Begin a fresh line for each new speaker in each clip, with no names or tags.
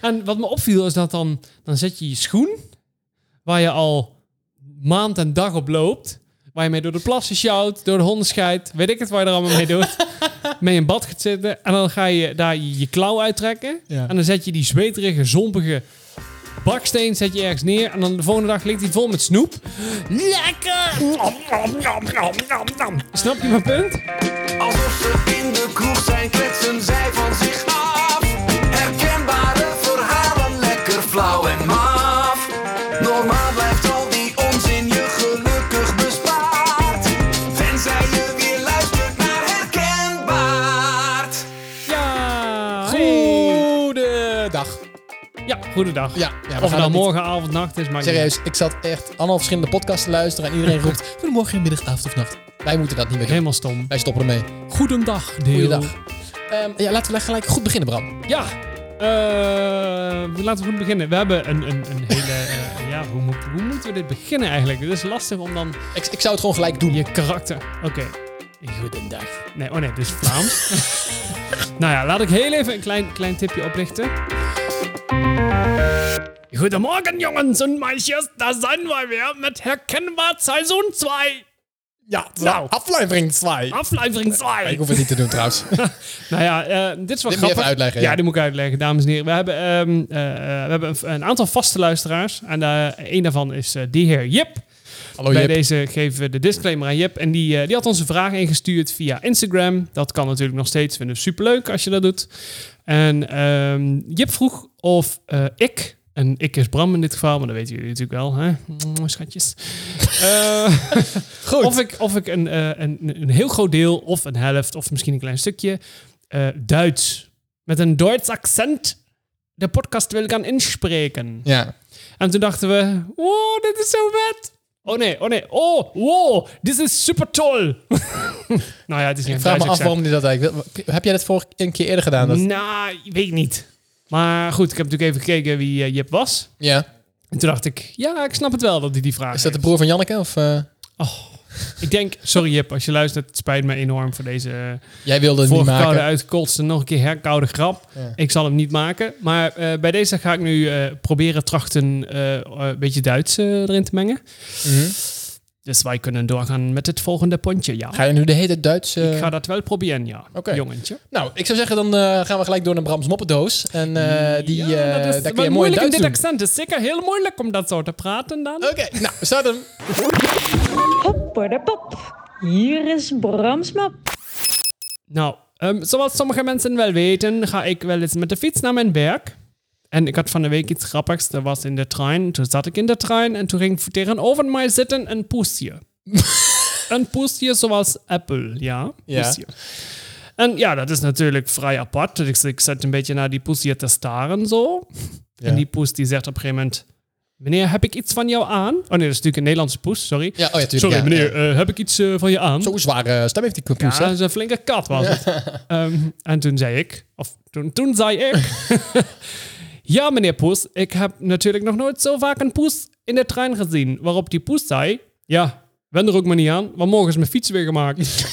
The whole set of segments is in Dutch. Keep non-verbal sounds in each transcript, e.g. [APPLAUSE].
En wat me opviel is dat dan, dan zet je je schoen, waar je al maand en dag op loopt, waar je mee door de plassen sjouwt, door de honden scheidt, weet ik het waar je er allemaal mee
[LAUGHS]
doet, mee in bad gaat zitten en dan ga je daar je, je klauw uittrekken
Ja.
en dan zet je die zweterige, zompige baksteen zet je ergens neer en dan de volgende dag ligt die vol met snoep. Lekker! Snap je mijn punt?
Alsof ze in de kroeg zijn, kletsen zij van zich af. Herkenbare verhalen, lekker flauw en maf. Normaal blijft al die onzin je gelukkig bespaard. Tenzij je weer luistert naar herkenbaar.
Ja!
Goedendag.
Ja, goedendag.
Ja, ja, we
of het
gaan
dan
dat niet-
morgen, avond, nacht is, maar
Serieus, ik zat echt allemaal verschillende podcasts te luisteren en iedereen roept goedemorgen, middag, avond of nacht. Wij moeten dat niet meer doen.
helemaal stom.
Wij stoppen ermee.
Goedendag, deel.
Goeiedag. Ehm, ja, laten we gelijk goed beginnen, Bram.
Ja, eh, laten we goed beginnen. We hebben een, een, een
[LAUGHS]
hele... eh, ja, hoe, moet- hoe moeten we dit beginnen eigenlijk? Het is lastig om dan
Ik, ik zou het gewoon gelijk doen.
je karakter... Oké. Goedendag. Nee, oh nee, dit is Vlaams. [LAUGHS] nou ja, laat ik heel even een klein, klein tipje oplichten. Goedemorgen jongens en meisjes, daar zijn wij weer met Herkenbaar Seizoen 2.
Ja,
nou.
aflevering 2.
Aflevering 2.
Ik hoef het niet te doen
[LAUGHS]
trouwens.
Nou ja, eh, dit is wel
Dit moet je
grappig.
even uitleggen,
ja.
ja.
dit moet ik uitleggen, dames en heren. We hebben, ehm, eh, eh, we hebben een, een aantal vaste luisteraars. En eh een daarvan is eh, die heer Jip.
Hallo
Bij
Oh, Jip.
deze geven we de disclaimer aan Jip. En die, eh, die had onze vraag ingestuurd via Instagram. Dat kan natuurlijk nog steeds. Vinden we superleuk als je dat doet. En ehm, Jip vroeg of eh, ik... En ik is Bram in dit geval, maar dat weten jullie natuurlijk wel, hè? Mwah,
[LAUGHS]
Schatjes. Eh,
Goed.
of ik, of ik een, eh, een, een heel groot deel, of een helft, of misschien een klein stukje eh, Duits met een Duits accent de podcast wil gaan inspreken.
Ja.
En toen dachten we, wow, dit is zo vet. Oh nee, oh nee, oh, wow, dit is super toll. [LAUGHS] nou ja, het is geen
Ik vraag
Duits
me
accent.
af waarom die dat eigenlijk wil. Heb jij dat vorige een keer eerder gedaan? Dat...
Nou, weet ik niet. Maar goed, ik heb natuurlijk even gekeken wie eh, Jip was.
Ja.
En toen dacht ik, ja, ik snap het wel dat hij die vraag
Is dat de
heeft.
broer van Janneke? Of, eh,
Ik denk, sorry Jip, als je luistert, het spijt me enorm voor deze... eh,
jij wilde het niet
Vorige koude
maken.
uitkotsen, nog een keer herkoude grap.
Ja.
Ik zal hem niet maken. Maar eh, bij deze ga ik nu eh, proberen trachten eh, een beetje Duits eh, erin te mengen.
Mhm.
Dus wij kunnen doorgaan met het volgende pontje, ja.
Ga je nu de hele Duitse...
Ik ga dat wel proberen, ja.
Oké.
Jongetje.
Nou, ik zou zeggen, dan eh, gaan we gelijk door naar Brams moppendoos. En eh, die, eh
Ja, dat is wel
daar kun je mooi in
moeilijk in
Duits
dit
doen.
accent. Het is zeker heel moeilijk om dat zo te praten dan.
Oké, nou, we starten hem.
Hopperderpop, hier is Brams map.
Nou, ehm, zoals sommige mensen wel weten, ga ik wel eens met de fiets naar mijn werk. En ik had van de week iets grappigs. Dat was in de trein. Toen zat ik in de trein en toen ging tegenover mij zitten een
[LAUGHS]
poesje. een poesje zoals Apple, ja.
Ja.
Poesje. En ja, dat is natuurlijk vrij apart. Dus ik zat een beetje naar die poesje te staren zo.
Ja.
En die poes die zegt op een gegeven moment... Meneer, heb ik iets van jou aan? Oh nee, dat is natuurlijk een Nederlandse poes, sorry.
Ja, oh ja, tuurlijk.
sorry,
ja,
meneer,
ja.
eh, heb ik iets eh, van je aan?
Zo'n zware stem heeft die kapoes,
Ja,
hè?
dat is een flinke kat was het.
[LAUGHS]
Ehm, en toen zei ik, of toen, toen zei ik... [LAUGHS] ja, meneer Poes, ik heb natuurlijk nog nooit zo vaak een poes in de trein gezien. Waarop die poes zei, ja, wend er ook maar niet aan, want morgen is mijn fiets weer
[LAUGHS]
gemaakt.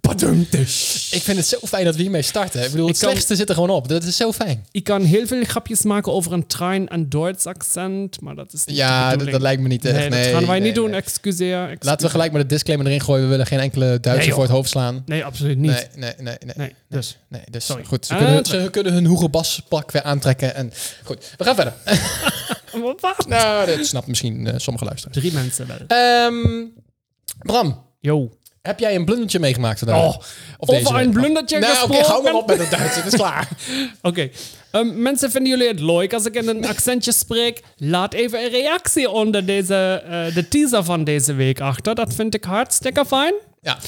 Padumtisch.
Ik vind het zo fijn dat we hiermee starten. Ik bedoel, het
Ik kan-
slechtste zit er gewoon op. Dat is zo fijn.
Ik kan heel veel grapjes maken over een trein en Duits accent, maar dat is niet de
Ja, dat,
bedoeling.
dat lijkt me niet echt.
Nee,
Nee,
dat gaan wij
nee,
niet doen,
nee.
excuseer.
Laten we gelijk maar de disclaimer erin gooien. We willen geen enkele Duitser
Nee, joh.
voor het hoofd slaan.
Nee, absoluut niet.
Nee, nee, nee, nee.
Nee, dus.
Nee, dus
Sorry.
goed. Ze
Ah,
kunnen, hun,
terug.
ze kunnen hun Hugo Bas pak weer aantrekken. En goed, we gaan verder.
Wat?
[LAUGHS] nou, dat snapt misschien eh, sommige luisteraars.
Drie mensen wel.
Ehm, Bram,
Yo.
heb jij een blundertje meegemaakt vandaag?
Oh, over een blundertje
Nou, oké,
gesproken.
hou maar op met het Duits. Het is
[LAUGHS]
klaar.
Oké. Ehm, mensen, vinden jullie het leuk als ik in een accentje spreek? Laat even een reactie onder deze, eh, de teaser van deze week achter. Dat vind ik hartstikke fijn.
Ja,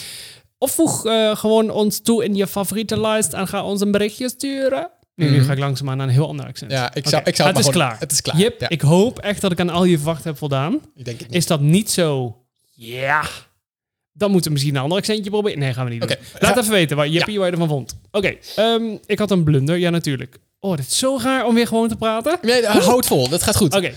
Of voeg eh, gewoon ons toe in je favoriete lijst en ga ons een berichtje sturen. Nu, nu ga ik langzaamaan naar een heel ander accent.
Mhm. Ja, ik zou-
Oké,
ik zou het
het, is
maar gewoon-
klaar.
het is klaar,
Jip,
ja.
ik hoop echt dat ik aan al je verwachtingen heb voldaan.
ik denk het niet.
Is dat niet zo? Ja. Dan moeten we misschien een ander accentje proberen. Nee, gaan we niet doen.
Oké.
Laat
Ja.
even weten waar Jippie
Ja.
waar je ervan vond. Oké, ehm, ik had een blunder. Ja, natuurlijk. Oh, dit is zo raar om weer gewoon te praten. Oké.
Nee, hou het vol. Dat gaat goed.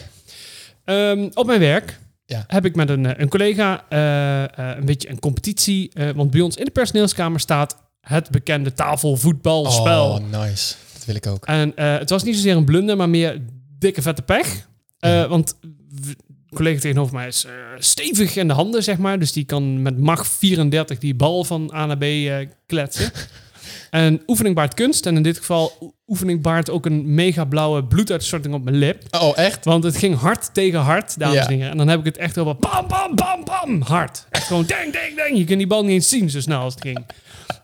Ehm, op mijn werk
Ja.
heb ik met een, eh, een collega eh, eh, een beetje een competitie. eh, want bij ons in de personeelskamer staat het bekende tafelvoetbalspel.
Oh, nice. Dat Dat wil ik ook.
En eh, het was niet zozeer een blunder, maar meer dikke vette pech. Eh, Want w- de collega tegenover mij is eh, stevig in de handen, zeg maar. Dus die kan met macht 34 die bal van A naar B eh, kletsen. en oefening baart kunst. En in dit geval o- oefening baart ook een mega blauwe bloeduitstorting op mijn lip.
Oh, echt?
Want het ging hard tegen hard, dames
Ja.
en heren. En dan heb ik het echt over bam, bam, bam, bam, hard. Echt gewoon ding, ding, ding. Je kunt die bal niet eens zien zo snel als het ging.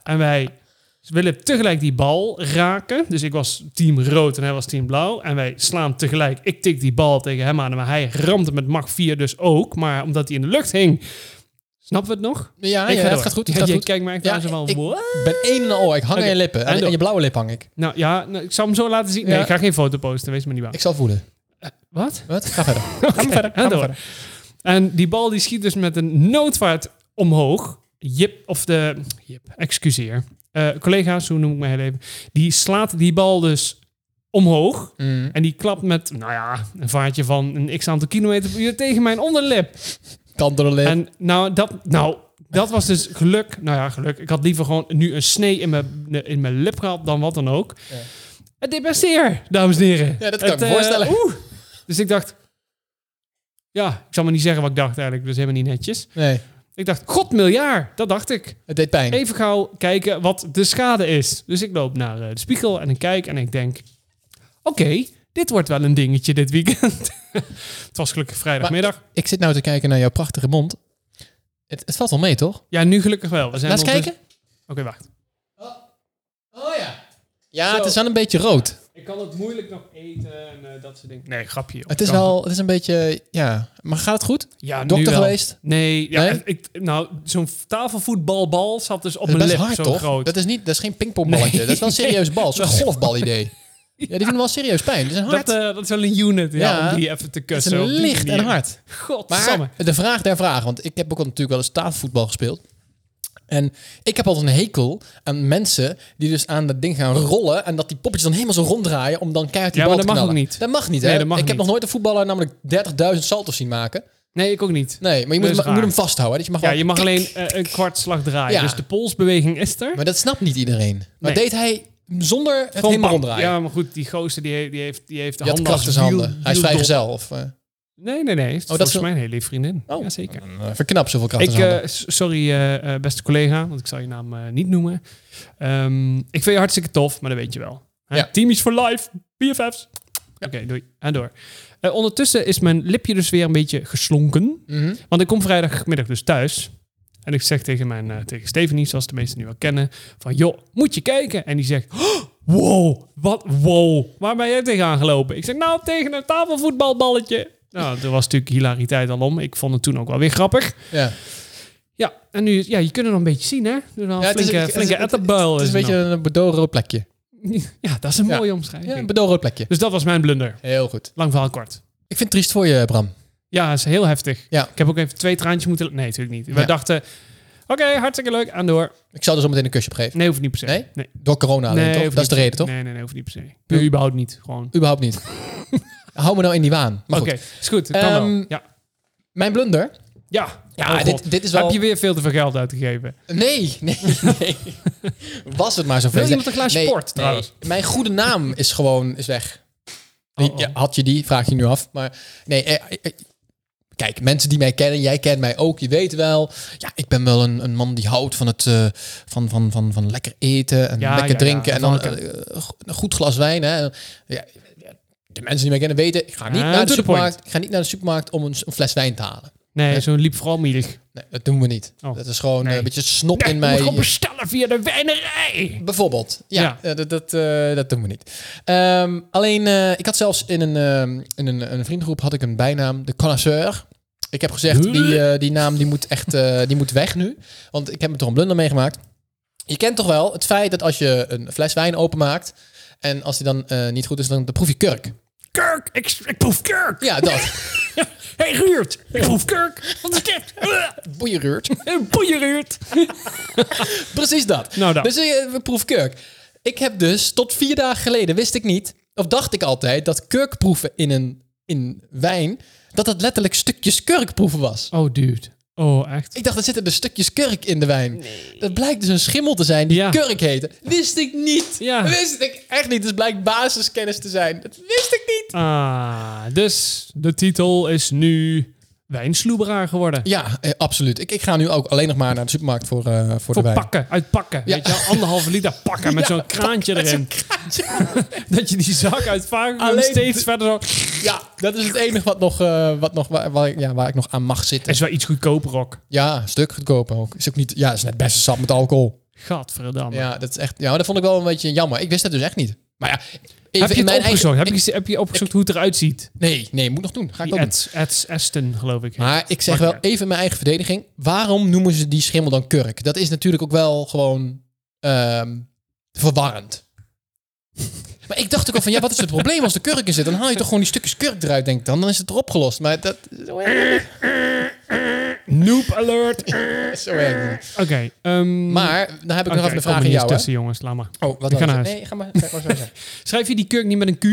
En wij willen tegelijk die bal raken. Dus ik was team rood en hij was team blauw. En wij slaan tegelijk. Ik tik die bal tegen hem aan, maar hij ramde met macht 4 dus ook. Maar omdat hij in de lucht hing, snappen we het nog?
Ja,
ik
ja,
ga
het
door.
gaat goed. Het
Ja,
gaat
je
goed.
kijkt mij echt
Ja,
aan zo van...
ik-
"What?"
ben één en al. Ik hang aan je lippen.
en
En, en
door.
je blauwe lip hang ik.
Nou ja, nou, ik zal hem zo laten zien. Nee,
Ja.
ik ga geen foto posten. Wees me niet bang.
Ik zal voelen.
Wat?
Wat?
[LAUGHS]
Ga verder.
Oh,
Ga maar verder. Ga
En,
maar
door.
verder.
en die bal die schiet dus met een noodvaart omhoog. Jip, of de... Jip, excuseer. Eh, collega's, hoe noem ik mij heel even. Die slaat die bal dus omhoog.
Mm.
En die klapt met, nou ja, een vaartje van een x-aantal kilometer per uur tegen mijn onderlip.
Kant door de lip.
En nou, dat... Nou, dat was dus geluk. Nou ja, geluk. Ik had liever gewoon nu een snee in mijn, in mijn lip gehad dan wat dan ook.
Ja.
Het deed best zeer, dames en heren.
Ja, dat kan
Het,
ik me
eh,
voorstellen.
oeh. Dus ik dacht... Ja, ik zal maar niet zeggen wat ik dacht eigenlijk. Dus helemaal niet netjes.
Nee,
Ik dacht, god miljard. Dat dacht ik.
het deed pijn.
Even gauw kijken wat de schade is. Dus ik loop naar eh, de spiegel en ik kijk en ik denk... Oké, dit wordt wel een dingetje dit weekend. [LAUGHS] het was gelukkig vrijdagmiddag.
Ik zit nou te kijken naar jouw prachtige mond. Het, het valt wel mee, toch?
ja, nu gelukkig wel. We zijn
Laat eens
ondertussen-
kijken.
Oké, wacht.
Oh ja. Ja,
Zo.
het is wel een beetje rood.
Ik kan het moeilijk nog eten en eh, dat soort dingen. Nee, grapje. joh.
Het is
Kan.
wel, het is een beetje, ja. Maar gaat het goed?
ja, nu
dokter
wel.
geweest?
Nee, ja,
Nee?
Ik, nou, zo'n tafelvoetbalbal zat dus op
Dat
mijn
is
lip
best hard,
zo
toch?
groot.
Dat is niet, dat is geen pingpongballetje.
Nee.
Dat is wel een serieus
[LAUGHS]
bal. Zo'n golfbal idee. Ja, die doen wel serieus pijn. Dat is een hard.
dat, eh, dat is wel een unit, ja,
Ja.
om die even te
het
kussen.
is een
op die
licht en
manier.
hard. Maar
Godsamme.
de vraag der vragen, want ik heb ook natuurlijk wel eens tafelvoetbal gespeeld. En ik heb altijd een hekel aan mensen die dus aan dat ding gaan rollen en dat die poppetjes dan helemaal zo ronddraaien om dan keihard die
Ja,
bal
maar
te
dat mag
knallen.
ook niet.
Dat mag niet, hè?
Nee, dat mag
ik heb
niet.
nog nooit een voetballer namelijk 30.000 salto's zien maken.
Nee, ik ook niet.
Nee, maar je
Dat is
moet, hem, je
raar.
moet hem vasthouden. hè, Dus je mag
Ja,
wel-
je mag alleen eh, een kwart slag draaien.
Ja.
Dus de polsbeweging is er.
Maar dat snapt niet iedereen. Maar
Nee.
deed hij zonder het
Gewoon
helemaal
bam.
ronddraaien?
Ja, maar goed, die gozer die, he- die heeft, die heeft de
Die had
handen
kracht in zijn
als wiel-
handen. Hij is
wieldop.
vrijgezel. Of, eh
Nee, nee, nee. Hij Heeft
Oh, dat
volgens
is-
mij een hele lieve vriendin.
Oh.
Ja, zeker.
eh, verknap zoveel kracht in
Ik,
zijn handen.
eh, s- sorry, eh, eh, beste collega, want ik zal je naam eh, niet noemen. Ehm, ik vind je hartstikke tof, maar dat weet je wel. Hè?
Ja.
Team is for life, BFF's. Oké, doei. En door. Eh, ondertussen is mijn lipje dus weer een beetje geslonken.
Mhm.
Want ik kom vrijdagmiddag dus thuis. En ik zeg tegen, mijn, eh, tegen Stephanie, zoals de meesten nu wel kennen, van joh, moet je kijken. En die zegt, "Oh, wow, wat, wow, waar ben jij tegenaan gelopen? Ik zeg, nou, tegen een tafelvoetbalballetje. Nou, er was natuurlijk hilariteit al om. Ik vond het toen ook wel weer grappig.
Ja.
Ja, en nu, ja, je kunt het nog een beetje zien, hè? Door een
Ja, het is-
flinke,
het is-
flinke
het is-
etterbuil.
Het is een beetje
nou?
een bedoelrood plekje.
[LAUGHS] Ja, dat is een
Ja.
mooie
Ja,
omschrijving.
een bedoelrood plekje.
dus dat was mijn blunder.
Heel goed.
Lang verhaal kort.
Ik vind het triest voor je, Bram.
Ja, dat is heel heftig.
Ja.
Ik heb ook even twee traantjes moeten... Nee, natuurlijk niet. We
Ja.
dachten, oké, hartstikke leuk, aan door.
Ik zal er zo meteen een kusje op geven.
Nee, hoeft niet per se.
Nee?
Nee,
Door corona alleen,
Nee,
toch?
hoeft
Dat is de
niet.
reden, toch?
Nee, nee, nee, hoeft niet per se. Puur überhaupt niet, gewoon.
Überhaupt
[LAUGHS]
niet. Hou me nou in die waan. Maar
Oké,
goed.
is goed. het kan
Ehm,
wel. Ja.
Mijn blunder?
Ja,
Ja,
Oh, God.
dit, dit is wel...
Heb je weer veel te veel geld uitgegeven?
Nee, nee, nee. Was het maar zo
Wil iemand een glaasje port, trouwens?
Mijn goede naam is gewoon is weg.
Oh, oh.
Ja, had je die? Vraag je nu af. Maar nee, eh, eh, kijk, mensen die mij kennen, jij kent mij ook, je weet wel. Ja, ik ben wel een, een man die houdt van het eh, van, van, van, van lekker eten en
Ja,
lekker
ja, ja.
drinken en
Van
dan eh, go- een goed glas wijn. Hè. Ja, de mensen die mij kennen weten, ik ga niet
Ah,
naar
to
de
the
supermarkt. Ik ga niet naar de supermarkt om een, s- een fles wijn te halen.
Nee, zo'n liep vooral mielig.
Nee, dat doen we niet.
Oh.
Dat is gewoon
Nee.
eh, een beetje snop
Nee,
in
moet
mij.
gewoon bestellen via de wijnerij.
Bijvoorbeeld. Ja,
Ja.
eh, dat, dat, eh, dat doen we niet. Ehm, alleen, eh, ik had zelfs in een, ehm, in een, een vriendengroep had ik een bijnaam, de connoisseur. Ik heb gezegd, die, eh, die naam die moet echt eh, die moet weg nu. Want ik heb me toch een blunder meegemaakt. Je kent toch wel het feit dat als je een fles wijn openmaakt... en als die dan eh, niet goed is, dan dan proef je kurk.
Kurk, ik, ik proef kurk.
Ja, dat.
Hey Ruurt, ik proef kurk. Wat is dit?
eh, Boeieruurt.
Een boeie Ruurt.
[LAUGHS] Precies dat.
Nou dan.
Dus eh, we proef kurk. Ik heb dus tot vier dagen geleden wist ik niet, of dacht ik altijd, dat kurkproeven in een in wijn, dat dat letterlijk stukjes kurkproeven was.
Oh, dude. Oh, echt?
Ik dacht, er zitten dus stukjes kurk in de wijn. Dat blijkt dus een schimmel te zijn die
Ja.
kurk heette. Wist ik niet.
Ja.
Wist ik echt niet. Dus blijkt basiskennis te zijn. Dat wist ik niet.
Ah, dus de titel is nu Wijnsloeberaar geworden.
Ja, eh, absoluut. Ik, ik ga nu ook alleen nog maar naar de supermarkt voor, eh, voor, de
Voor
wijn.
pakken, uit pakken.
Ja.
Weet je wel, anderhalve liter pakken met
Ja,
zo'n kraantje
Met zo'n
erin.
kraantje.
Dat je die zak uit Vagerum
Alleen
steeds
de-
verder zo...
ja, dat is het enige wat nog, eh, wat nog, waar, waar ik- ja, waar ik nog aan mag zitten.
is wel iets goedkoper ook.
Ja, een stuk goedkoper ook. Is ook niet, ja, is net best een sap met alcohol.
Gadverdamme.
Ja, dat is echt, ja, maar dat vond ik wel een beetje jammer. Ik wist dat dus echt niet. Maar ja, even
Heb je
in
het
mijn
opgezocht?
eigen...
Heb, je, geze- heb je opgezocht hoe het eruit ziet?
Nee, nee, moet nog doen. Ga ik
Die
ook doen.
Eds, Eds Aston, geloof ik.
Maar ik zeg wel even in mijn eigen verdediging. Waarom noemen ze die schimmel dan kurk? Dat is natuurlijk ook wel gewoon ehm, verwarrend. [LAUGHS] Maar ik dacht ook al van, ja, wat is het probleem als de kurk in zit? Dan haal je toch gewoon die stukjes kurk eruit, denk ik dan. Dan is het erop gelost. Maar dat...
Noob alert! Oké,
Zo erg. niet.
ehm,
Maar, dan heb ik
oké,
nog even een
kom
vraag
er
aan
niet
jou, hè?
tussen, jongens. Laat maar.
Oh, wat
Ik ga
dan?
naar huis.
Nee, ga maar, zeg maar zo [LAUGHS] zeggen.
Schrijf je die kurk niet met een Q?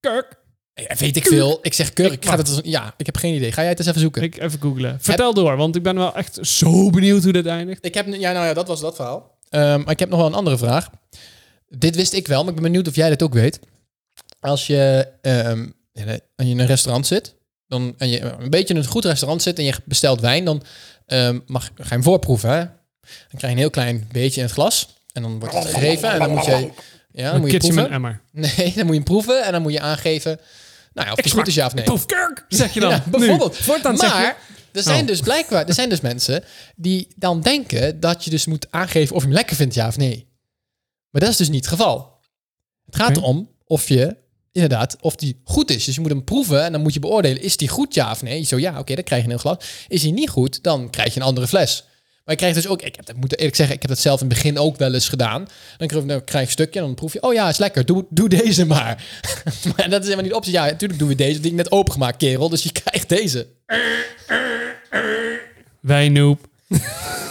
Kurk?
Eh, Weet ik veel. Ik zeg kurk. Ik ga dat als- ja, ik heb geen idee. Ga jij het eens even zoeken? Ik,
Ik even googlen. Vertel door, want ik ben wel echt zo benieuwd hoe dit eindigt.
heb... nu- Ja, nou ja, dat was dat verhaal. Ehm, maar ik heb nog wel een andere vraag. Dit wist ik wel, maar ik ben benieuwd of jij dat ook weet. Als je ehm, in een- in een restaurant zit, dan, en je een beetje in een goed restaurant zit en je bestelt wijn, dan ehm, mag, ga je hem voorproeven. Hè? Dan krijg je een heel klein beetje in het glas. En dan wordt het gegeven en dan moet je... Ja, dan
Een
moet je
kitje met een
proeven.
emmer.
Nee, dan moet je hem proeven en dan moet je aangeven... Nou ja, of het goed is ja of nee.
Poef, kurk, zeg [LAUGHS] je dan.
Ja, bijvoorbeeld.
Nu. Voortaan
maar
zeg je...
er zijn
Oh.
dus blijkbaar er zijn dus mensen die dan denken dat je dus moet aangeven of je hem lekker vindt, ja of nee. Maar dat is dus niet het geval. Het gaat
Oké.
erom of je inderdaad of die goed is. Dus je moet hem proeven en dan moet je beoordelen is die goed ja of nee. Zo ja, oké, dan krijg je een heel glas. Is die niet goed, dan krijg je een andere fles. Maar je krijgt dus ook, ik heb dat, moet eerlijk zeggen, ik heb dat zelf in het begin ook wel eens gedaan. Dan krijg dan krijg je een stukje en dan proef je, oh ja, is lekker, doe, doe deze maar. [LAUGHS] maar dat is helemaal niet de optie. Ja, natuurlijk doen we deze, die heb ik net opengemaakt, kerel, dus je [LAUGHS] krijgt deze.
Wijnnoep.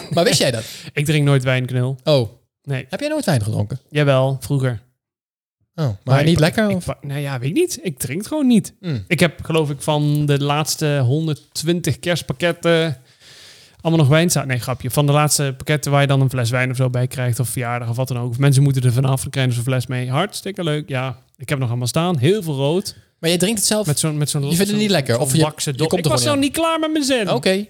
Maar wist jij dat?
Ik drink nooit wijnknul.
Oh,
Nee.
heb jij nooit wijn gedronken?
Jawel, vroeger.
Oh, maar,
ik-
niet lekker?
Ik,
of?
pa- nou ja, weet ik niet. Ik drink het gewoon niet.
Mm.
Ik heb geloof ik van de laatste 120 kerstpakketten allemaal nog wijn staan. Nee, grapje. Van de laatste pakketten waar je dan een fles wijn of zo bij krijgt. Of verjaardag of wat dan ook. Of mensen moeten er vanaf. Dan krijgen ze een fles mee. Hartstikke leuk. Ja, ik heb nog allemaal staan. Heel veel rood.
Maar jij drinkt het zelf?
Met zo'n met zo'n
vindt het
zo'n-
niet lekker?
zo'n
Of je-
wakse
je
dop.
komt
ik
er
was
gewoon
nog
in.
niet klaar met mijn zin.
Oké. [LAUGHS]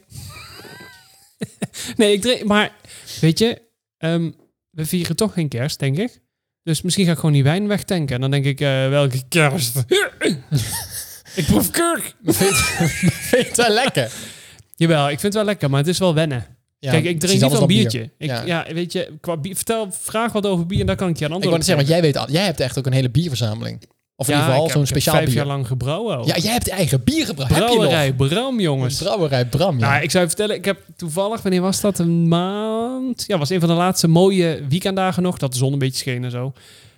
Nee, ik drink. Maar weet je, ehm, we vieren toch geen kerst, denk ik. Dus misschien ga ik gewoon die wijn wegtanken. En dan denk ik, eh, welke
[LAUGHS]
kerst? ik proef kurk.
Maar Vind vind je het wel lekker?
Jawel, ik vind het wel lekker, maar het is wel wennen.
Ja,
Kijk,
het
ik
is
drink
iets
niet van
anders dan bier.
biertje. Ik,
Ja.
ja. weet je, qua bier, vertel, vraag wat over bier en dan kan ik je een
Ik wou
antwoord
net zeggen, want jij, weet, al- jij hebt echt ook een hele bierverzameling. Of in ieder geval zo'n speciaal
vijf
bier.
jaar lang gebrouwen. ook.
Ja, jij hebt eigen bier gebruikt. Heb je nog?
Brouwerij, Bram, jongens.
Brouwerij Bram, ja.
Nou, ik zou je vertellen, ik heb toevallig, wanneer was dat? Een maand? Ja, was een van de laatste mooie weekenddagen nog, dat de zon een beetje scheen en zo.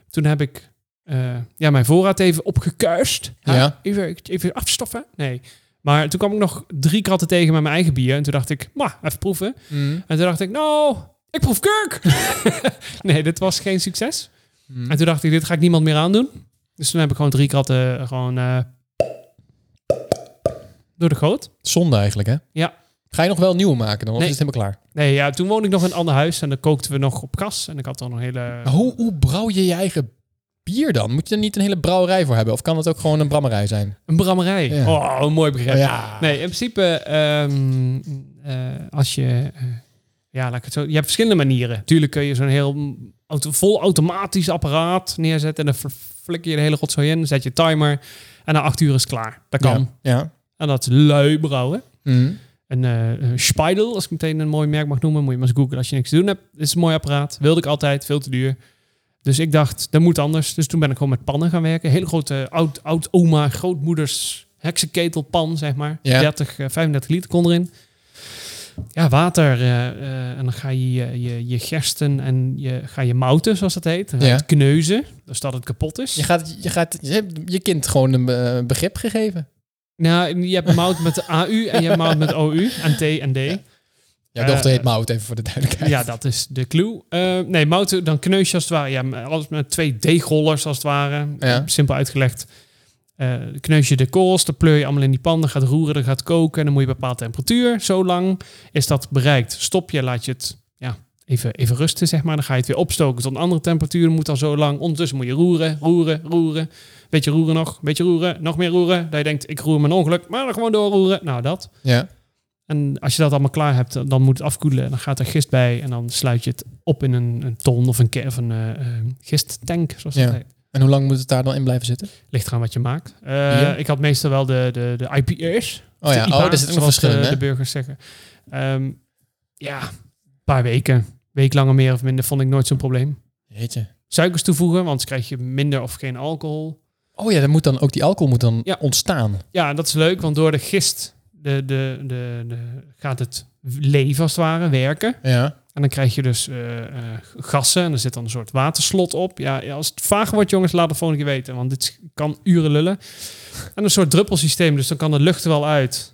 Toen heb ik eh, ja, mijn voorraad even opgekuist. Nou,
Ja.
Even, even afstoffen. Nee. Maar toen kwam ik nog drie kratten tegen met mijn eigen bier. En toen dacht ik, maar even proeven.
Mm.
En toen dacht ik, nou, ik proef kurk.
[LAUGHS]
nee, dit was geen succes.
Mm.
En toen dacht ik, dit ga ik niemand meer aandoen. Dus toen heb ik gewoon drie kratten eh, gewoon eh, door de goot.
Zonde eigenlijk, hè?
Ja.
Ga je nog wel nieuw maken dan? Of
Nee.
is het helemaal klaar?
Nee, ja, toen woonde ik nog in een ander huis en dan kookten we nog op gas. En ik had dan een hele...
Maar hoe, hoe brouw je je eigen bier dan? Moet je er niet een hele brouwerij voor hebben? Of kan het ook gewoon een brammerij zijn?
Een brammerij.
Ja.
Oh, een mooi begrip.
Ja.
Nee, in principe, ehm, eh, als je... eh, ja, laat ik het zo... Je hebt verschillende manieren. Tuurlijk kun je zo'n heel mm, auto, vol automatisch apparaat neerzetten. En dan fl- flikker je de hele rotzooi in. Zet je timer. En na acht uur is het klaar. Dat kan.
Ja. ja.
En dat is lui brouwen.
Mm.
Een eh, eh, Speidel, als ik meteen een mooi merk mag noemen. Moet je maar eens googlen als je niks te doen hebt. Dit is een mooi apparaat. Wilde ik altijd, veel te duur. Dus ik dacht, dat moet anders. Dus toen ben ik gewoon met pannen gaan werken. Hele grote oud, oud oma, grootmoeders heksenketelpan, zeg maar.
Ja.
30, eh, 35 liter kon erin. Ja, water. eh, eh, en dan ga je je, je je gersten en je, ga je mouten, zoals dat heet. Dan ga je
Ja.
het kneuzen, dus dat het kapot is.
Je, gaat, je, gaat, je hebt je kind gewoon een eh, begrip gegeven.
Nou, je hebt mout met AU en je hebt mout met OU en T en D.
Jouw dochter
Eh,
heet Mout, even voor de duidelijkheid.
Ja, dat is de clue. Eh, nee, mouten, dan kneus je als het ware. Ja, alles met twee deegrollers als het ware.
Ja.
Simpel uitgelegd. Eh, eh kneus je de kools, dan pleur je allemaal in die pan, dan gaat roeren, dan gaat koken en dan moet je een bepaalde temperatuur. Zo lang is dat bereikt. Stop je, laat je het ja, even, even rusten, zeg maar. Dan ga je het weer opstoken tot een andere temperatuur. Moet al zo lang. Ondertussen moet je roeren, roeren, roeren. Beetje roeren nog, beetje roeren, nog meer roeren. Dat je denkt, ik roer mijn ongeluk, maar dan gewoon doorroeren. Nou, dat.
Ja.
En als je dat allemaal klaar hebt, dan moet het afkoelen. En dan gaat er gist bij en dan sluit je het op in een, een ton of een, ke- of een eh, eh, gisttank, zoals dat
Ja.
heet.
En hoe lang moet het daar dan in blijven zitten? Oh
Ligt eraan wat je maakt. Eh,
Ja.
Ik had meestal wel de, de, de IPA's.
Oh ja,
De
oh,
IPA's,
er zit een
zoals
verschil in,
de,
hè?
eh, de burgers zeggen. Ehm, ja, een paar weken. Week langer meer of minder vond ik nooit zo'n probleem.
Jeetje.
Suikers toevoegen, want anders krijg je minder of geen alcohol.
Oh ja, dan moet dan ook die alcohol moet dan
Ja.
ontstaan.
Ja, dat is leuk, want door de gist de, de, de, de, gaat het leven als het ware werken.
Ja.
En dan krijg je dus eh, eh, gassen en er zit dan een soort waterslot op. Ja, als het vaag wordt, jongens, laat het volgende keer weten, want dit kan uren lullen. En een soort druppelsysteem, dus dan kan de lucht er wel uit.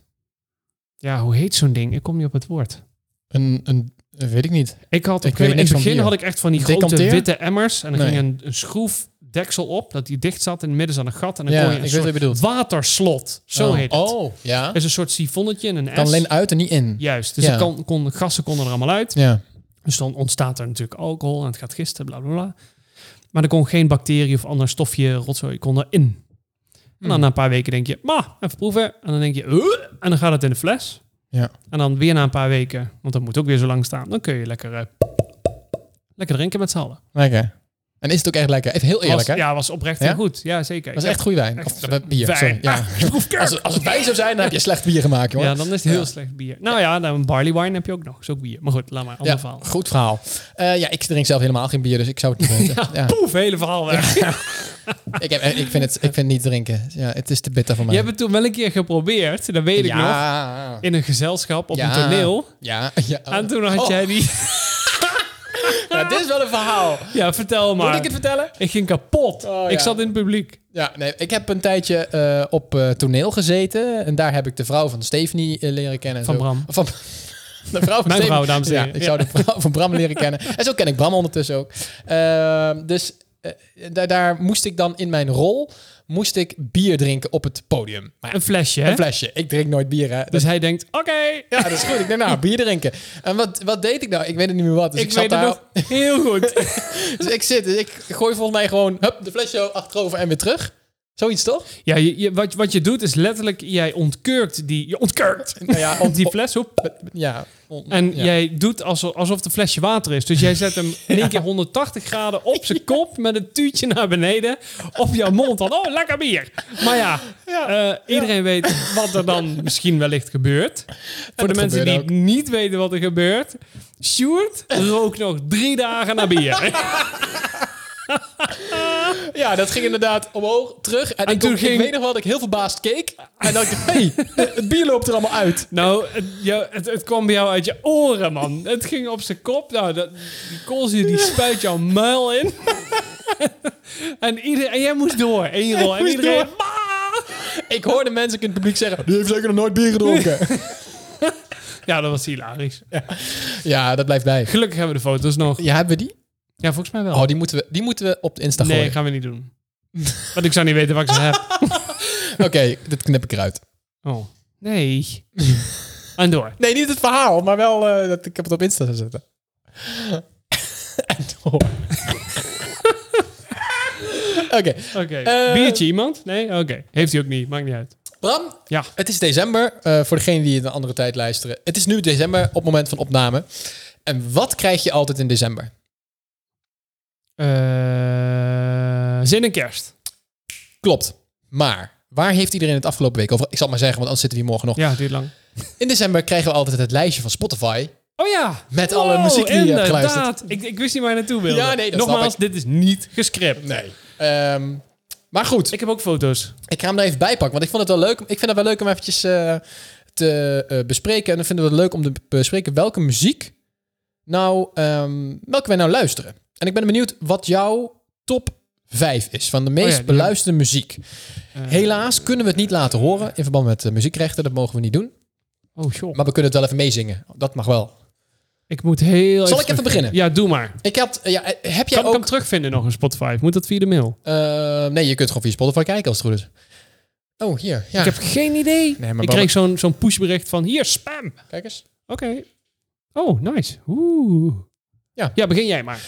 Ja, hoe heet zo'n ding? Ik kom niet op het woord.
Een, een, eh, weet ik niet.
Ik had
Ik
ik
weet
in
niks
het
van
begin
bier.
had ik echt van die grote
Decanteer?
witte emmers en dan
Nee.
ging een, een schroefdeksel op, dat die dicht zat en midden zat een gat en dan
Ja,
kon je een
ik weet wat je
soort
bedoelt.
waterslot. Zo
oh.
heet het.
Oh, ja.
Er is een soort sifonnetje en een
Kan
S.
alleen uit en niet in.
Juist, dus
Ja.
er kon, kon, gassen konden er allemaal uit.
Ja.
Dus dan ontstaat er natuurlijk alcohol en het gaat gisten, bla bla bla. Maar er kon geen bacterie of ander stofje, rotzooi, kon erin. En
Hmm.
dan na een paar weken denk je, ma, even proeven. En dan denk je, "Ugh." en dan gaat het in de fles.
Ja.
En dan weer na een paar weken, want dat moet ook weer zo lang staan. Dan kun je lekker, eh, lekker drinken met z'n allen.
Lekker. En is het ook echt lekker? Even heel eerlijk,
was,
hè?
ja, was oprecht
Oh, Ja?
heel goed. Ja, zeker.
Dat
Ik
is echt goede wijn.
heb
Of
echt,
eh,
eh,
bier,
wijn.
sorry. Ja.
Ah, ik proef kerk.
Als, als het wijn zou zijn, dan heb je slecht bier gemaakt, hoor.
ja, dan is het heel
Ja.
slecht bier. Nou ja, dan een barley wine heb je ook nog. Is ook bier. Maar goed, laat maar. Ander
Ja,
verhaal.
goed verhaal. Eh, ja, ik drink zelf helemaal geen bier, dus ik
[LAUGHS]
zou het niet weten. Ja.
Poef, hele verhaal weg.
Ik, heb, eh, ik, vind het, ik vind het niet drinken. Ja, het is te bitter voor mij.
Je hebt het toen wel een keer geprobeerd. Dat weet ik nog.
ja.
in een gezelschap op
Ja.
een toneel. [LAUGHS]
Ja. ja.
En toen had
Oh,
jij die... [LAUGHS] nou,
ja, dit is wel een verhaal.
Ja, vertel maar.
Moet ik het vertellen?
Ik ging kapot.
ja.
Ik zat in het publiek.
Ja, nee, ik heb een tijdje eh, op eh, toneel gezeten. En daar heb ik de vrouw van Stephanie eh, leren kennen. en
Van
zo.
Bram.
Van, [LAUGHS] de vrouw van Stephanie.
vrouw, dames en
Ja,
heren.
ik zou de vrouw van Bram leren kennen. En zo ken ik Bram ondertussen ook. Ehm, dus eh, daar, daar moest ik dan in mijn rol... moest ik bier drinken op het podium. Maar ja,
Een flesje, hè?
een flesje. Ik drink nooit bier, hè.
Dus
Dus
hij denkt, oké. [LAUGHS]
ja, dat is goed. Ik denk, nou, bier drinken. En wat, wat deed ik nou? Ik weet het niet meer wat. Dus ik,
ik
zat
weet het
daar...
nog heel goed.
Dus ik zit, dus ik gooi volgens mij gewoon... hup, de flesje achterover en weer terug. Zoiets, toch?
ja, je, je- wat, wat je doet is letterlijk, jij ontkurkt die... Je ontkurkt
Nou ja, om
die fles op.
Ja. on-
En
ja.
jij doet alsof, alsof de flesje water is. Dus jij zet hem in één keer 180 graden op
[LAUGHS]
zijn kop met een tuutje naar beneden op jouw mond. Dan, oh, lekker bier. Maar ja, eh, iedereen weet wat er dan misschien wellicht gebeurt. Voor de
dat
mensen die
gebeurde
niet weten wat er gebeurt. Sjoerd rook nog drie dagen naar bier. [LAUGHS]
Ja, dat ging inderdaad omhoog, terug. En, ik,
toen
ik
ging-
weet nog wel dat ik heel verbaasd keek. En dat ik dacht, hey, het bier loopt er allemaal uit.
nou, het, jou- het, het kwam bij jou uit je oren, man. Het ging op zijn kop. Nou, dat, die koolzuur die spuit jouw muil in. [LAUGHS] en, ieder, en jij moest door. En, je rol, en
moest
iedereen...
door. Ik hoorde mensen in het publiek zeggen, die heeft zeker nog nooit bier gedronken.
Ja, dat was hilarisch.
ja, dat blijft bij.
Gelukkig hebben we de foto's nog.
Ja, hebben we die?
Ja, volgens mij wel.
Oh, die moeten we, die moeten we op de Insta
nee,
gooien.
gaan we niet doen. Want ik zou niet weten wat ik ze [LAUGHS] heb.
Oké, dit knip ik eruit.
Oh. [LAUGHS] Nee. en door.
Nee, niet het verhaal, maar wel eh, dat ik heb het op Insta zetten. en door. Oké,
Oké.
Eh.
Biertje iemand? Nee? Oké. Heeft hij ook niet. Maakt niet uit.
Bram,
Ja.
Het is december, eh, voor degenen die het een andere tijd luisteren. Het is nu december op het moment van opname. En wat krijg je altijd in december?
Eh, zin in kerst.
Klopt. Maar waar heeft iedereen het afgelopen week over? Ik zal het maar zeggen, want anders zitten we hier morgen nog.
Ja, het duurt lang.
In december krijgen we altijd het lijstje van Spotify.
Oh ja.
Met alle muziek die je hebt
inderdaad.
geluisterd.
Ik, ik wist niet waar je naartoe wilde.
Ja, nee, dat snap
Nogmaals,
ik.
dit is niet gescript.
Nee. Ehm, maar goed, ik,
Ik heb ook foto's.
ik ga hem er even bij pakken. Want ik vond het wel leuk. Ik vind het wel leuk om eventjes eh, te eh, bespreken. En dan vinden we het leuk om te bespreken welke muziek nou, ehm, welke wij nou luisteren. En ik ben benieuwd wat jouw top 5 is van de meest
Oh ja, die- Eh.
beluisterde muziek. Helaas kunnen we het niet laten horen in verband met eh, muziekrechten. Dat mogen we niet doen.
Oh, joh.
Maar we kunnen het wel even meezingen. Dat mag wel.
Ik moet heel
Zal ik even beginnen?
Ja, doe maar.
Ik had, eh, ja, eh, heb jij
Kan ik hem
ook...
terugvinden nog in Spotify? Moet dat via de mail?
eh, nee, je kunt gewoon via Spotify kijken als het goed is. Oh, hier. Ja.
Ik heb geen idee.
Nee, maar
ik
Barbara-
kreeg zo'n zo'n pushbericht van hier, spam. Oké.
Kijk eens.
Oh, nice. Oeh.
Ja.
ja, begin jij maar.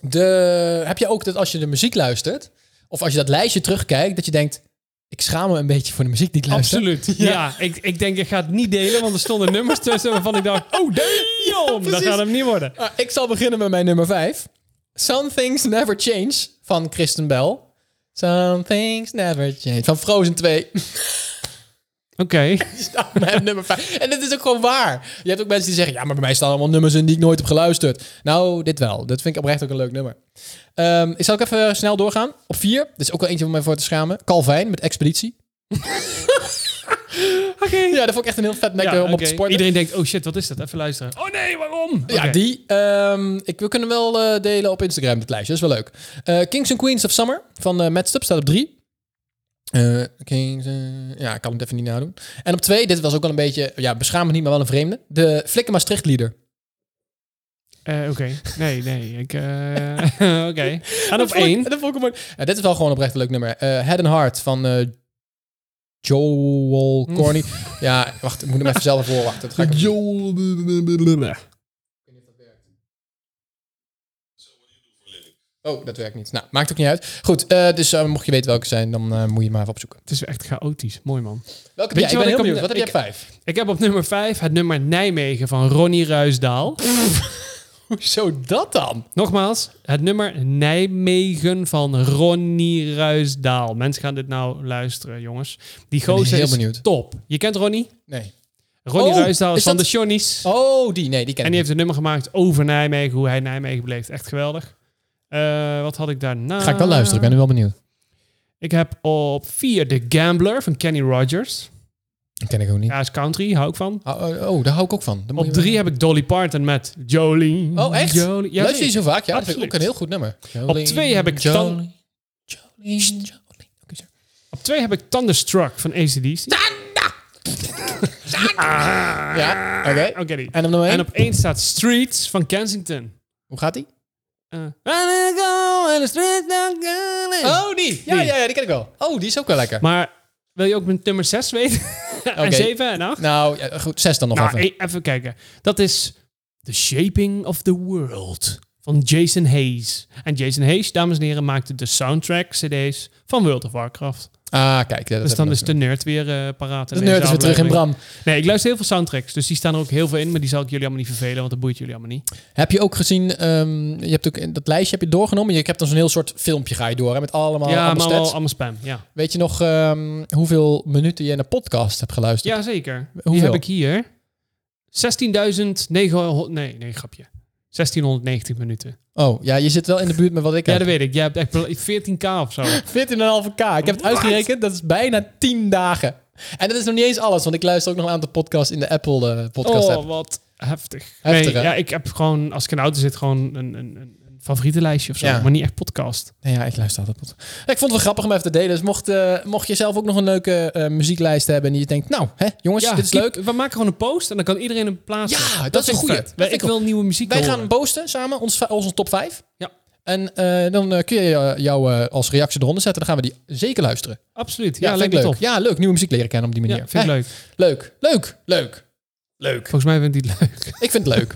De, heb je ook dat als je de muziek luistert, of als je dat lijstje terugkijkt, dat je denkt, ik schaam me een beetje voor de muziek die ik luister.
Absoluut.
[LAUGHS]
Ja, ik, ik denk, ik ga het niet delen, want er stonden nummers tussen waarvan ik dacht,
[LAUGHS]
oh, damn, dat
precies.
gaat hem niet worden.
Ah, ik zal beginnen met mijn nummer 5. Some Things Never Change van Kristen Bell. Some Things Never Change van Frozen [LAUGHS] 2.
Oké.
staat mijn nummer 5. En dat is ook gewoon waar. Je hebt ook mensen die zeggen, ja, maar bij mij staan allemaal nummers in die ik nooit heb geluisterd. Nou, dit wel. Dat vind ik oprecht ook een leuk nummer. Ehm, ik zal ook even snel doorgaan. Op 4, dit is ook wel eentje om mij voor te schamen. Calvijn met Expeditie.
Oké.
Ja, dat vond ik echt een heel vet nek
Ja,
eh, om op
oké.
te sporten.
Iedereen denkt, oh shit, wat is dat? Even luisteren. Oh nee, waarom?
Ja,
Oké.
die. ehm, ik, we kunnen wel eh, delen op Instagram, het lijstje. Dat is wel leuk. Eh, Kings and Queens of Summer van eh Matt Stubbs staat op drie. Eh, Kings, eh, ja, ik kan het even niet nadoen. En op twee, dit was ook wel een beetje, ja, beschaamd niet, maar wel een vreemde. De Flikker Maastricht lieder.
Eh, Oké. Nee, nee. Ik, eh, [LAUGHS] Oké. En op één.
Dat vond ik mooi. Ja, dit is wel gewoon oprecht een leuk nummer. Eh, Head and Heart van eh,
Mm.
Joel Corny. ja, wacht, ik moet hem even zelf voorwachten. Dat
[LAUGHS]
ga ik hem- Oh, dat werkt niet. Nou, maakt ook niet uit. Goed, eh, dus eh, mocht je weten welke zijn, dan eh, moet je maar even opzoeken.
Het is echt chaotisch. Mooi man.
Welke
Weet
heb jij?
je
Ik ben heel
wat ik
benieuwd.
op-
Wat heb
ik-
jij op vijf?
Ik heb op nummer 5 het nummer Nijmegen van Ronnie
[LAUGHS]
Ruisdaal.
Hoezo dat dan?
Nogmaals, het nummer Nijmegen van Ronnie Ruisdaal. Mensen gaan dit nou luisteren, jongens. Die gozer
heel
is
benieuwd.
top. Je kent Ronnie?
Nee.
Ronnie
Oh,
Ruisdaal is,
is
van
dat-
de Johnnies.
Oh, die. Nee, die ken
En
ik
die
niet.
heeft een nummer gemaakt over Nijmegen, hoe hij Nijmegen beleeft. Echt geweldig. Eh, wat had ik daarna?
Ga ik wel luisteren, ik ben nu wel benieuwd.
Ik heb op 4 The Gambler van Kenny Rogers.
Dat ken ik ook niet.
Ja, is country, hou ik van.
Oh, oh, oh, daar hou ik ook van. Daar moet
Op
je wel-
3 heb ik Dolly Parton met Jolene.
Oh, echt?
Jolene. Ja,
Luister je zo vaak? Ja, dat vind ik
Absoluut.
ook een heel goed nummer.
Op twee heb ik
Jolene,
dan-
Jolene, Jolene. Oké, sorry.
Op 2 heb ik Thunderstruck van ACDC.
Ja, oké.
Oké. die.
En op nummer
En
één?
op 1 staat Streets van Kensington.
Hoe gaat die?
Eh. Oh.
Oh, die. Ja, ja, ja, die ken ik wel. Oh, die is ook wel lekker.
Maar wil je ook mijn nummer 6 weten? [LAUGHS]
Oké.
en 7 en 8?
Nou, ja, goed. Zes dan nog
Nou,
even.
e- even kijken. Dat is The Shaping of the World van Jason Hayes. En Jason Hayes, dames en heren, maakte de soundtrack CD's van World of Warcraft.
Ah, kijk. ja, dat
Dus dan
hebben
is
we
de nerd weer eh, paraat. in
nog. de
deze
nerd is weer terug in
aflevering.
Bram.
Nee, ik luister heel veel soundtracks, dus die staan er ook heel veel in. Maar die zal ik jullie allemaal niet vervelen, want dat boeit jullie allemaal niet.
Heb je ook gezien, ehm, je hebt ook in dat lijstje heb je doorgenomen. Je hebt dan zo'n heel soort filmpje ga je door hè, met allemaal,
ja,
allemaal
maar
stats.
wel allemaal spam. Ja,
Weet je nog ehm, hoeveel minuten je in een podcast hebt geluisterd?
ja zeker. Die
Hoeveel?
heb ik hier. 16.900... Nee, nee, grapje. 1690 minuten.
Oh, ja, je zit wel in de buurt met wat ik
Ja,
heb.
dat weet ik. Jij hebt echt wel 14k of
[LAUGHS]
zo.
14,5k. Ik heb het uitgerekend. Dat is bijna 10 dagen. En dat is nog niet eens alles, want ik luister ook nog een aantal podcasts in de Apple eh, podcast app.
Oh, wat heftig.
Heftig,
nee,
hè?
ja, ik heb gewoon, als ik in de auto zit, gewoon een, een, een een favorietenlijstje of zo.
Ja.
Maar niet echt podcast.
Nee, ja, ik luister altijd podcast. Ik vond het wel grappig om even te delen. Dus mocht, eh, mocht je zelf ook nog een leuke eh, muzieklijst hebben en je denkt, nou, hè, jongens, dit is
keep-
leuk.
We maken gewoon een post en dan kan iedereen hem plaatsen.
Ja, dat
vind
is een
ik
goeie.
vet.
Dat
Wij-
vind
Ik
ik
wil nieuwe muziek
Wij gaan
horen.
posten samen, ons, onze top 5.
Ja.
En eh, dan eh, kun je eh, jou eh, als reactie eronder zetten. Dan gaan we die zeker luisteren.
Absoluut.
Ja,
Ja,
vind
lijkt
ik
me
leuk.
top.
Ja, leuk. Nieuwe muziek leren kennen op die
Ja,
manier.
vind ik
Hè?
leuk.
leuk. Leuk. Leuk. Leuk.
Volgens mij vindt hij het leuk.
Ik vind
[LAUGHS]
het leuk.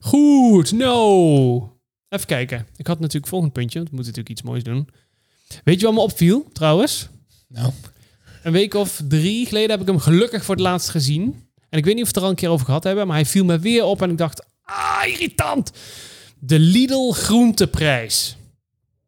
Goed, nou. Even kijken. Ik had natuurlijk volgend puntje, want we moeten natuurlijk iets moois doen. Weet je wat me opviel, trouwens?
nou,
Een week of drie geleden heb ik hem gelukkig voor het laatst gezien. En ik weet niet of we het er al een keer over gehad hebben, maar hij viel me weer op en ik dacht, ah, irritant. De Lidl groenteprijs.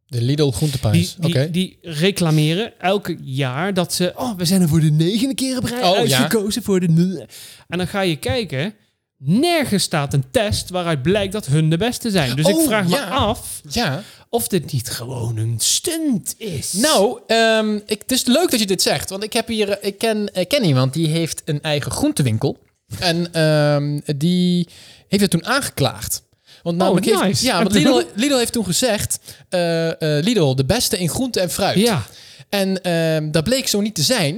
de Lidl
Die,
groenteprijs.
die,
Oké.
die reclameren elke jaar dat ze... Oh, we zijn er voor de negende keer op rij
Oh,
uitgekozen voor de... nul." En dan ga je kijken. Nergens staat een test waaruit blijkt dat hun de beste zijn. Dus ik
Oh,
vraag
ja.
me af
Ja.
of dit niet gewoon een stunt is.
Nou, ehm, ik, het is leuk dat je dit zegt. Want ik, heb hier, eh, ik, ken, ik ken iemand die heeft een eigen groentewinkel. En ehm, die heeft het toen aangeklaagd. Want namelijk heeft,
Oh, nice.
ja,
En [LAUGHS]
want
toen?
Lidl, Lidl heeft toen gezegd... eh, eh, Lidl, de beste in groente en fruit.
Ja,
En ehm, dat bleek zo niet te zijn.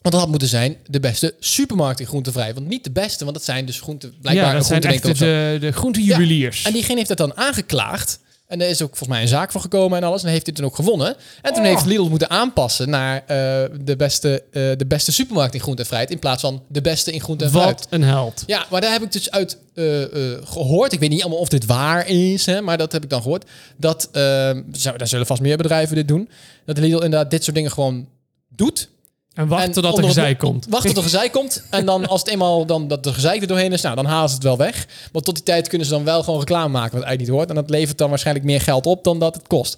Want dat had moeten zijn de beste supermarkt in groentevrij. Want niet de beste, want dat zijn dus groente, blijkbaar
ja
een
dat zijn echt
groentewinkel
de,
of zo.
de, de groentejuweliers.
En diegene heeft dat dan aangeklaagd. En er is ook volgens mij een zaak van gekomen en alles. En heeft hij toen ook gewonnen. En toen
Oh.
heeft Lidl moeten aanpassen naar eh, de, beste, eh, de beste supermarkt in groente en fruit. In plaats van de beste in groente en fruit.
Wat een held.
Ja, maar daar heb ik dus uit eh, eh, gehoord. Ik weet niet allemaal of dit waar is, hè, maar dat heb ik dan gehoord. Dat, eh, zou, daar zullen vast meer bedrijven dit doen. Dat Lidl inderdaad dit soort dingen gewoon doet.
En wacht
En
totdat er
onder het-
gezei komt.
Wacht tot er gezeik komt. En dan als het eenmaal dan, dat de gezeik er doorheen is, nou, dan halen ze het wel weg. Maar tot die tijd kunnen ze dan wel gewoon reclame maken, wat eigenlijk niet hoort. En dat levert dan waarschijnlijk meer geld op dan dat het kost.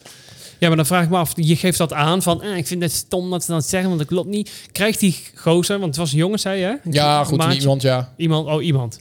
Ja, maar dan vraag ik me af, je geeft dat aan van, eh, ik vind het stom dat ze dat zeggen, want dat klopt niet. Krijgt die gozer, want het was een jongen, zei je? hè?
Ja, goed,
Maatje.
iemand, ja.
Iemand, oh iemand.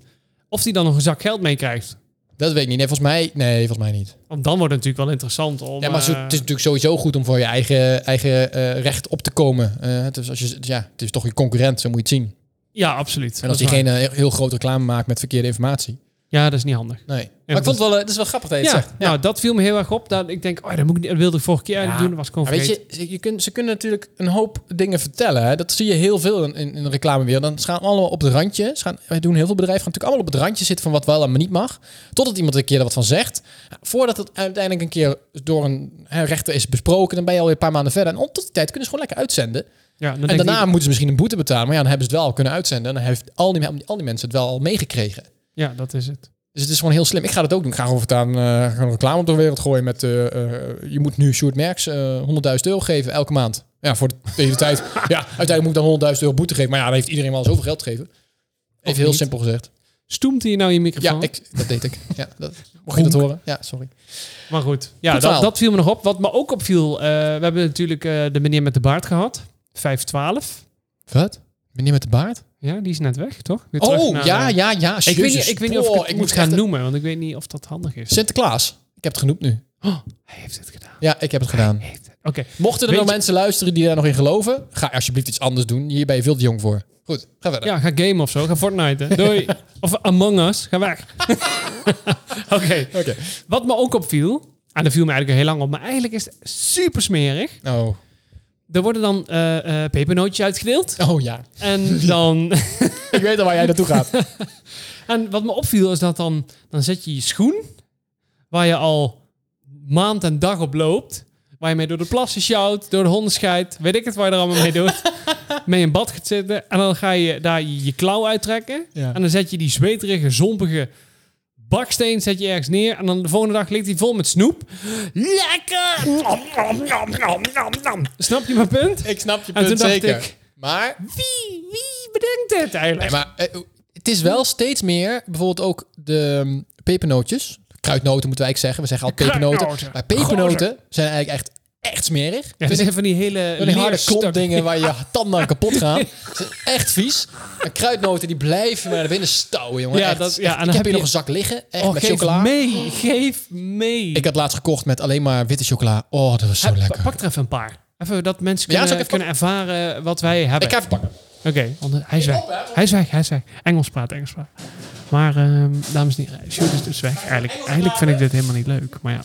Of die dan nog een zak geld meekrijgt.
Dat weet ik niet. Nee, volgens mij, nee, volgens mij niet.
Want dan wordt het natuurlijk wel interessant om...
Ja, maar zo-
eh,
het is natuurlijk sowieso goed om voor je eigen, eigen eh, recht op te komen. Eh, dus als je, ja, het is toch je concurrent, zo moet je het zien.
ja, absoluut.
En als
Dat is
diegene heel, heel groot reclame maakt met verkeerde informatie.
waar. Ja, dat is niet handig.
Nee. maar
dat
ik vond het wel, eh, het is wel grappig dat je
Ja,
het zegt. Ja.
nou, dat viel me heel erg op. Dat ik denk, oh, dat, moet ik niet, dat wilde ik vorige keer eigenlijk
Ja.
doen. Dat was ik gewoon
Maar weet
vergeten.
je, ze, je kunt, ze kunnen natuurlijk een hoop dingen vertellen. Hè? Dat zie je heel veel in, in, in de reclame weer. Dan gaan we allemaal op het randje. Ze gaan, wij doen heel veel bedrijven gaan natuurlijk allemaal op het randje zitten van wat wel en maar niet mag. Totdat iemand er een keer er wat van zegt. Voordat het uiteindelijk een keer door een hè, rechter is besproken, dan ben je alweer een paar maanden verder. En tot die tijd kunnen ze gewoon lekker uitzenden.
ja, dan
En
denk
daarna
ik-
moeten ze misschien een boete betalen. Maar ja, dan hebben ze het wel kunnen uitzenden. En dan heeft al die, al die mensen het wel al meegekregen.
ja, dat is het.
Dus het is gewoon heel slim. Ik ga dat ook doen. Ik ga gewoon voortaan eh, gewoon reclame op de wereld gooien met... eh, eh, je moet nu Sjoerd Merks eh, 100.000 euro geven elke maand. Ja, voor de [LAUGHS] hele tijd. Ja, uiteindelijk moet ik dan 100.000 euro boete geven. Maar ja, dan heeft iedereen wel zoveel geld gegeven. Even heel
niet.
simpel gezegd.
Stoemt hier nou je microfoon?
Ja, ik, dat deed ik. Ja,
[LAUGHS]
dat, mocht je dat horen? Ja, sorry.
Maar goed, ja,
Goed
dat,
verhaal.
dat viel me nog op. Wat me ook opviel, eh, we hebben natuurlijk eh, de meneer met de baard gehad. 512.
Wat? Meneer met de baard?
Ja, die is net weg, toch? Weer terug
Oh,
naar,
ja,
eh,
ja, ja.
Ik weet, niet,
Jezus,
ik weet niet of ik
boah,
het moet
echt
gaan
een-
noemen, want ik weet niet of dat handig is.
Sinterklaas. Ik heb het genoemd nu.
Oh, hij heeft het gedaan.
Ja, ik heb het gedaan.
Hij heeft het. Oké,
Mochten er
Weet
nog
je-
mensen luisteren die daar nog in geloven... ga alsjeblieft iets anders doen. Hier ben je veel te jong voor. Goed, ga verder.
ja, ga gamen of zo. Ga Fortnite, hè. Doei. of Among Us. Ga weg. Oké.
Oké.
Wat me ook opviel, en dat viel me eigenlijk heel lang op, maar eigenlijk is het super smerig.
Oh.
Er worden dan eh, eh, pepernootjes uitgedeeld.
oh ja.
En dan...
Ik weet al waar jij naartoe
[LAUGHS]
gaat.
En wat me opviel is dat dan, dan zet je je schoen, waar je al maand en dag op loopt, waar je mee door de plassen sjouwt, door de honden scheidt, weet ik het waar je er allemaal mee
[LAUGHS]
doet, mee in bad gaat zitten en dan ga je daar je, je klauw uittrekken
Ja.
en dan zet je die zweterige, zompige baksteen zet je ergens neer en dan de volgende dag ligt hij vol met snoep. Lekker! Nom, nom, nom, nom, nom, nom. Snap je mijn punt?
Ik snap je
En toen
punt
dacht
zeker.
ik-
Maar,
Wie, wie bedenkt dit
nee,
eigenlijk?
maar eh, het is wel steeds meer, bijvoorbeeld ook de ehm, pepernootjes. Kruidnoten moeten wij eigenlijk zeggen. We zeggen altijd pepernoten.
Kruidnoten.
Maar pepernoten zijn eigenlijk echt, echt smerig.
Ja, dit zijn van die hele
Van die harde
leerstukken.
klopdingen waar je tanden aan kapot gaan.
[LAUGHS]
Het is echt vies. En kruidnoten die blijven maar naar binnen stouwen, jongen.
Ja,
Echt,
dat-
echt.
ja, en dan
ik heb
heb
hier
je-
nog een zak liggen. Echt
Oh,
met
geef
chocola.
mee, geef mee.
Ik had laatst gekocht met alleen maar witte chocola. Oh, dat was zo
Hè, pa-
lekker.
Pak er even een paar. Even dat mensen
Ja,
kunnen,
zal ik even
kunnen ervaren wat wij hebben.
Ik ga even pakken.
Oké, want hij is weg.
op, hè, want-
Hij is weg, hij is weg. Engels praat, Engels praat. Maar, ehm, dames en heren, Sjoerd is dus weg. Eigenlijk, eigenlijk vind ik dit helemaal niet leuk. Maar ja,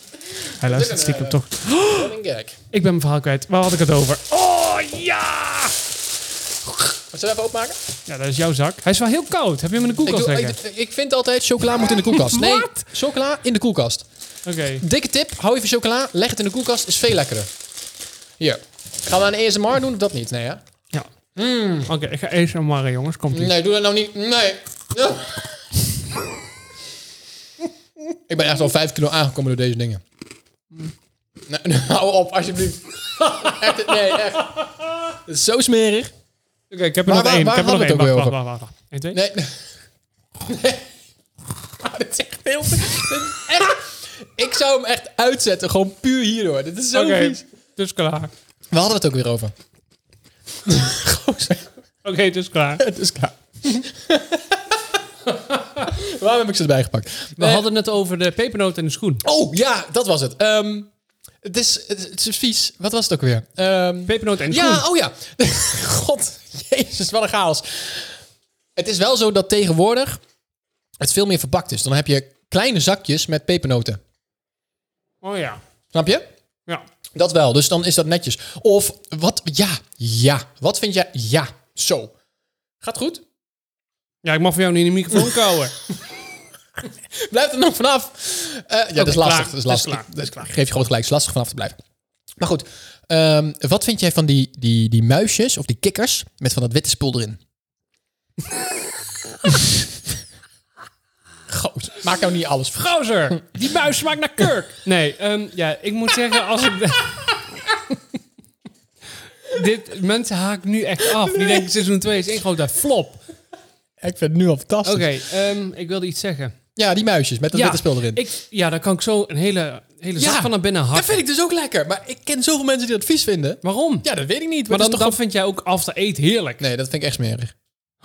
hij luistert stiekem toch.
eh, Running gag.
Ik ben mijn verhaal kwijt. Waar had ik het over? Oh, ja!
Zullen we even openmaken?
Ja, dat is jouw zak. Hij is wel heel koud. Heb je hem in de
Ik,
koelkast
doe,
liggen?
ik, ik vind altijd chocola moet in de koelkast. Nee,
Wat?
chocola in de koelkast.
Oké.
Dikke tip, hou je van chocola, leg het in de koelkast, is veel lekkerder. Hier. Gaan we aan ASMR doen of dat niet? Nee, hè?
Ja. Hmm. Oké, ik ga eerst aanmaren, jongens. Komt ie.
Nee, doe dat nou niet. Nee. ik ben echt al vijf kilo aangekomen door deze dingen. Nee, [LAUGHS] nou, hou op, alsjeblieft. echt, nee, echt. Het is zo smerig.
Oké, ik heb er
Maar
nog
waar-
één. Ik
waar
heb er nog
hadden
één. Wacht,
we het
wacht,
ook
wacht, wacht. wacht. Eén, twee.
Nee. [LAUGHS] Nee. Ah, dit is echt heel... Dit is echt... Ik zou hem echt uitzetten, gewoon puur hierdoor. Dit is zo
Oké,
vies.
het is klaar. Oké,
We hadden het ook weer [LAUGHS] over. Gozer,
het is klaar.
het is klaar. [LAUGHS] Waarom heb ik ze erbij gepakt? Eh,
We hadden het over de pepernoot en de schoen.
Oh ja, dat was het. Ehm, het, is, het, is- het is vies. Wat was het ook weer? Ehm,
Pepernoot en de
ja,
schoen.
oh ja. [LAUGHS] God, jezus, wat een chaos. Het is wel zo dat tegenwoordig het veel meer verpakt is. Dan heb je kleine zakjes met pepernoten.
Oh ja.
Snap je?
Ja.
Dat wel, dus dan is dat netjes. Of wat, ja, ja. Wat vind jij? Ja, zo. Gaat goed?
[LAUGHS] ja, ik mag van jou niet in de microfoon kouwen.
Blijf er nog vanaf. Eh, ja, dat is
klaar.
lastig. Dat is
Dat is
lastig.
klaar. Dat is klaar.
Ik geef je gewoon gelijk. Het is lastig vanaf te blijven. Maar goed, ehm, wat vind jij van die, die, die muisjes of die kikkers met van dat witte spul
[LAUGHS]
erin? Goed. Maak nou niet alles. ver-
Gozer, die buis smaakt naar kurk. Nee, ehm, ja, ik moet zeggen, als ik... [LAUGHS] Dit, mensen haken nu echt af. Die denken, seizoen 2 is één grote flop. Oké,
Ik vind het nu al fantastisch.
ehm, ik wilde iets zeggen.
Ja, die muisjes met dat
ja,
witte spul erin.
Ik, ja, daar kan ik zo een hele, hele zak van naar binnen hakken.
Dat vind ik dus ook lekker. Maar ik ken zoveel mensen die dat vies vinden.
Waarom?
Ja, dat weet ik niet.
maar dan,
Maar, dat is
dan
toch
vind jij ook after eat heerlijk.
gewoon- Nee, dat vind ik echt smerig.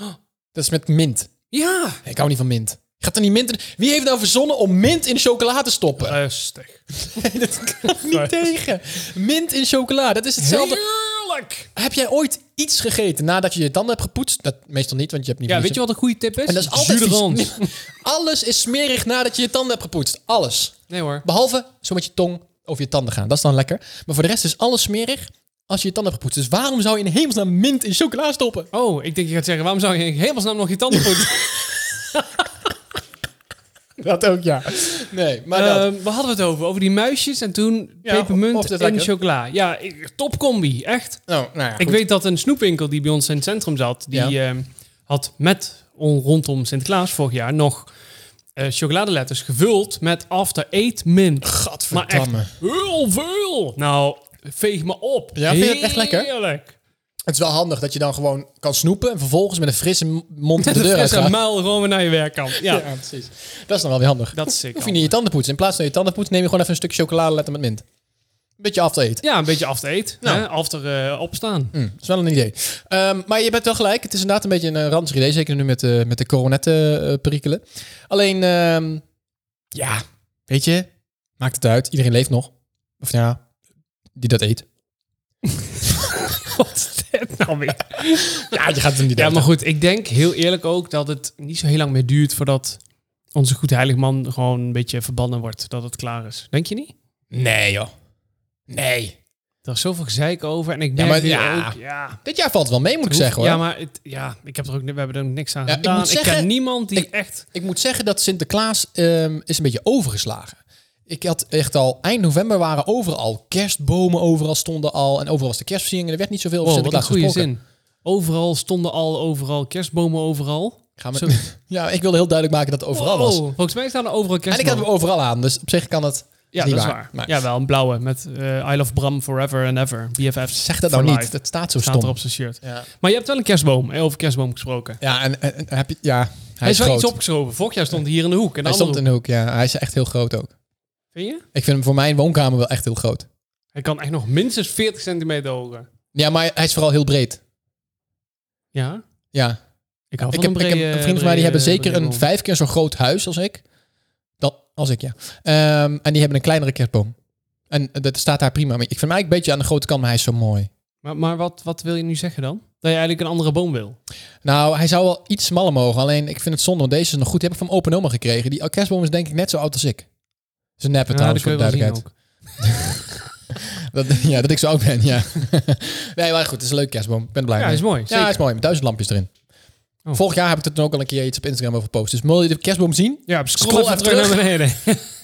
Oh.
Dat is met mint.
Ja.
Ik hou niet van mint. Gaat er niet mint in... Wie heeft nou verzonnen om mint in chocola te stoppen?
Rustig.
[LAUGHS] dat kan ik niet tegen. Mint in chocola, dat is hetzelfde.
Heerlijk.
Heb jij ooit iets gegeten nadat je je tanden hebt gepoetst? Dat meestal niet, want je hebt niet
Ja,
meer
weet je wat een goede tip is?
En dat is altijd
Zuurderand.
vies. [LAUGHS] Alles is smerig nadat je je tanden hebt gepoetst. Alles.
Nee hoor.
Behalve zo met je tong over je tanden gaan. Dat is dan lekker. Maar voor de rest is alles smerig als je je tanden hebt gepoetst. Dus waarom zou je in hemelsnaam mint in chocola stoppen?
Oh, ik denk je gaat zeggen, waarom zou je in hemelsnaam nog je tanden poetsen?
[LAUGHS] Dat ook, ja. Nee, maar dat...
Ehm, waar hadden we het over? Over die muisjes en toen
Ja, of
pepermunt
dat
en
lekker.
chocola. Ja, ik- top combi, echt.
Nou, nou ja,
Ik
goed.
weet dat een snoepwinkel die bij ons in het centrum zat, die
Ja.
ehm, had met on- rondom Sinterklaas vorig jaar nog eh, chocoladeletters gevuld met after eight mint. Maar echt
Gadverdamme.
heel veel. Nou, veeg me op.
Ja, vind je dat echt lekker?
Heerlijk.
Het is wel handig dat je dan gewoon kan snoepen... en vervolgens met een frisse m- mond de
De
deur
frisse
uitgaat.
muil gewoon weer naar je werk kan. Ja,
Ja, precies. Dat is dan wel weer handig.
dat is sick.
Hoef je niet je tanden te poetsen. In plaats van je tanden te poetsen... neem je gewoon even een stukje chocoladeletter met mint. Een beetje af te eten.
Ja, een beetje after eight.
Nou.
hè? After eh, opstaan.
Dat is wel een idee. Ehm, maar je bent wel gelijk. Het is inderdaad een beetje een eh, ranzig idee. Zeker nu met, eh, met de coronetten-perikelen. Alleen, ehm, ja, weet je, maakt het uit. Iedereen leeft nog. Of ja, die dat
[LAUGHS]
eet.
[LAUGHS] Wat is dit nou weer?
Ja, je gaat het hem niet
Ja,
eten.
maar goed, ik denk heel eerlijk ook dat het niet zo heel lang meer duurt voordat onze goed heilig man gewoon een beetje verbannen wordt. Dat het klaar is. Denk je niet?
Nee, joh. Nee.
Er is zoveel gezeik over en ik merk
Ja, maar
nu
ja.
ook... Ja,
Dit jaar valt het wel mee, moet ik zeggen hoor.
ja maar het, ja, ik heb er ook, we hebben er ook niks aan
Ja, ik
gedaan.
moet zeggen-
ken niemand die
ik-
echt...
Ik moet zeggen dat Sinterklaas ehm, is een beetje overgeslagen. Ik had echt al eind november waren overal kerstbomen, overal stonden al. En overal was de kerstversiering. En er werd niet zoveel over
Wow, wat een
Sinterklaas
Oh, goede
Oh, gesproken.
zin. Overal stonden al overal kerstbomen overal.
Gaan we... [LAUGHS] Ja, ik wilde heel duidelijk maken dat het overal was.
Wow, Volgens mij staan er overal
En ik
kerstbomen.
had hem overal aan, dus op zich kan het.
ja,
niet
dat is
waar.
waar.
Maar
Ja, wel een blauwe met eh, I love Bram forever and ever. BFF's
Zeg dat
for
nou niet.
life.
Dat staat zo
Staat er
stom.
op zijn shirt.
Ja.
Maar je hebt wel een kerstboom. eh, Over kerstboom gesproken.
Ja, en, en- en heb je, ja, hij,
Hij
is
is wel
groot.
iets opgeschoven. Vorig jaar stond hij hier in de hoek. En de
hij
andere
stond in de hoek, ja. Hij is echt heel groot ook.
hoek. Vind je?
Ik vind hem voor mijn woonkamer wel echt heel groot.
Hij kan echt nog minstens 40 centimeter hoger.
Ja, maar hij is vooral heel breed.
Ja.
Ja.
Ik, hou
Ik
van
heb, ik heb
eh,
een vriend van mij die hebben zeker een vijf keer zo groot huis als ik. Dat, als ik, ja. Ehm, en die hebben een kleinere kerstboom. En dat staat daar prima. Maar ik vind hem eigenlijk een beetje aan de grote kant, maar hij is zo mooi.
Maar, maar wat, wat wil je nu zeggen dan? Dat je eigenlijk een andere boom wil.
Nou, hij zou wel iets smaller mogen. Alleen, ik vind het zonde, want deze is nog goed. Die heb ik van open oma gekregen. Die kerstboom is denk ik net zo oud als ik. Dat is een neppe trouwens, voor de duidelijkheid. Dat, [LAUGHS] ja, dat ik zo oud ben, ja. nee, maar goed, het is een leuke kerstboom. Ik ben er blij
Ja,
mee.
hij is mooi,
Ja,
zeker.
hij is mooi. Met duizend lampjes erin.
Oh.
Vorig jaar heb ik er toen ook al een keer iets op Instagram over gepost. Dus wil je de kerstboom zien? [LAUGHS]
Ja,
Scroll
scroll even
even
terug naar
[LAUGHS]
beneden.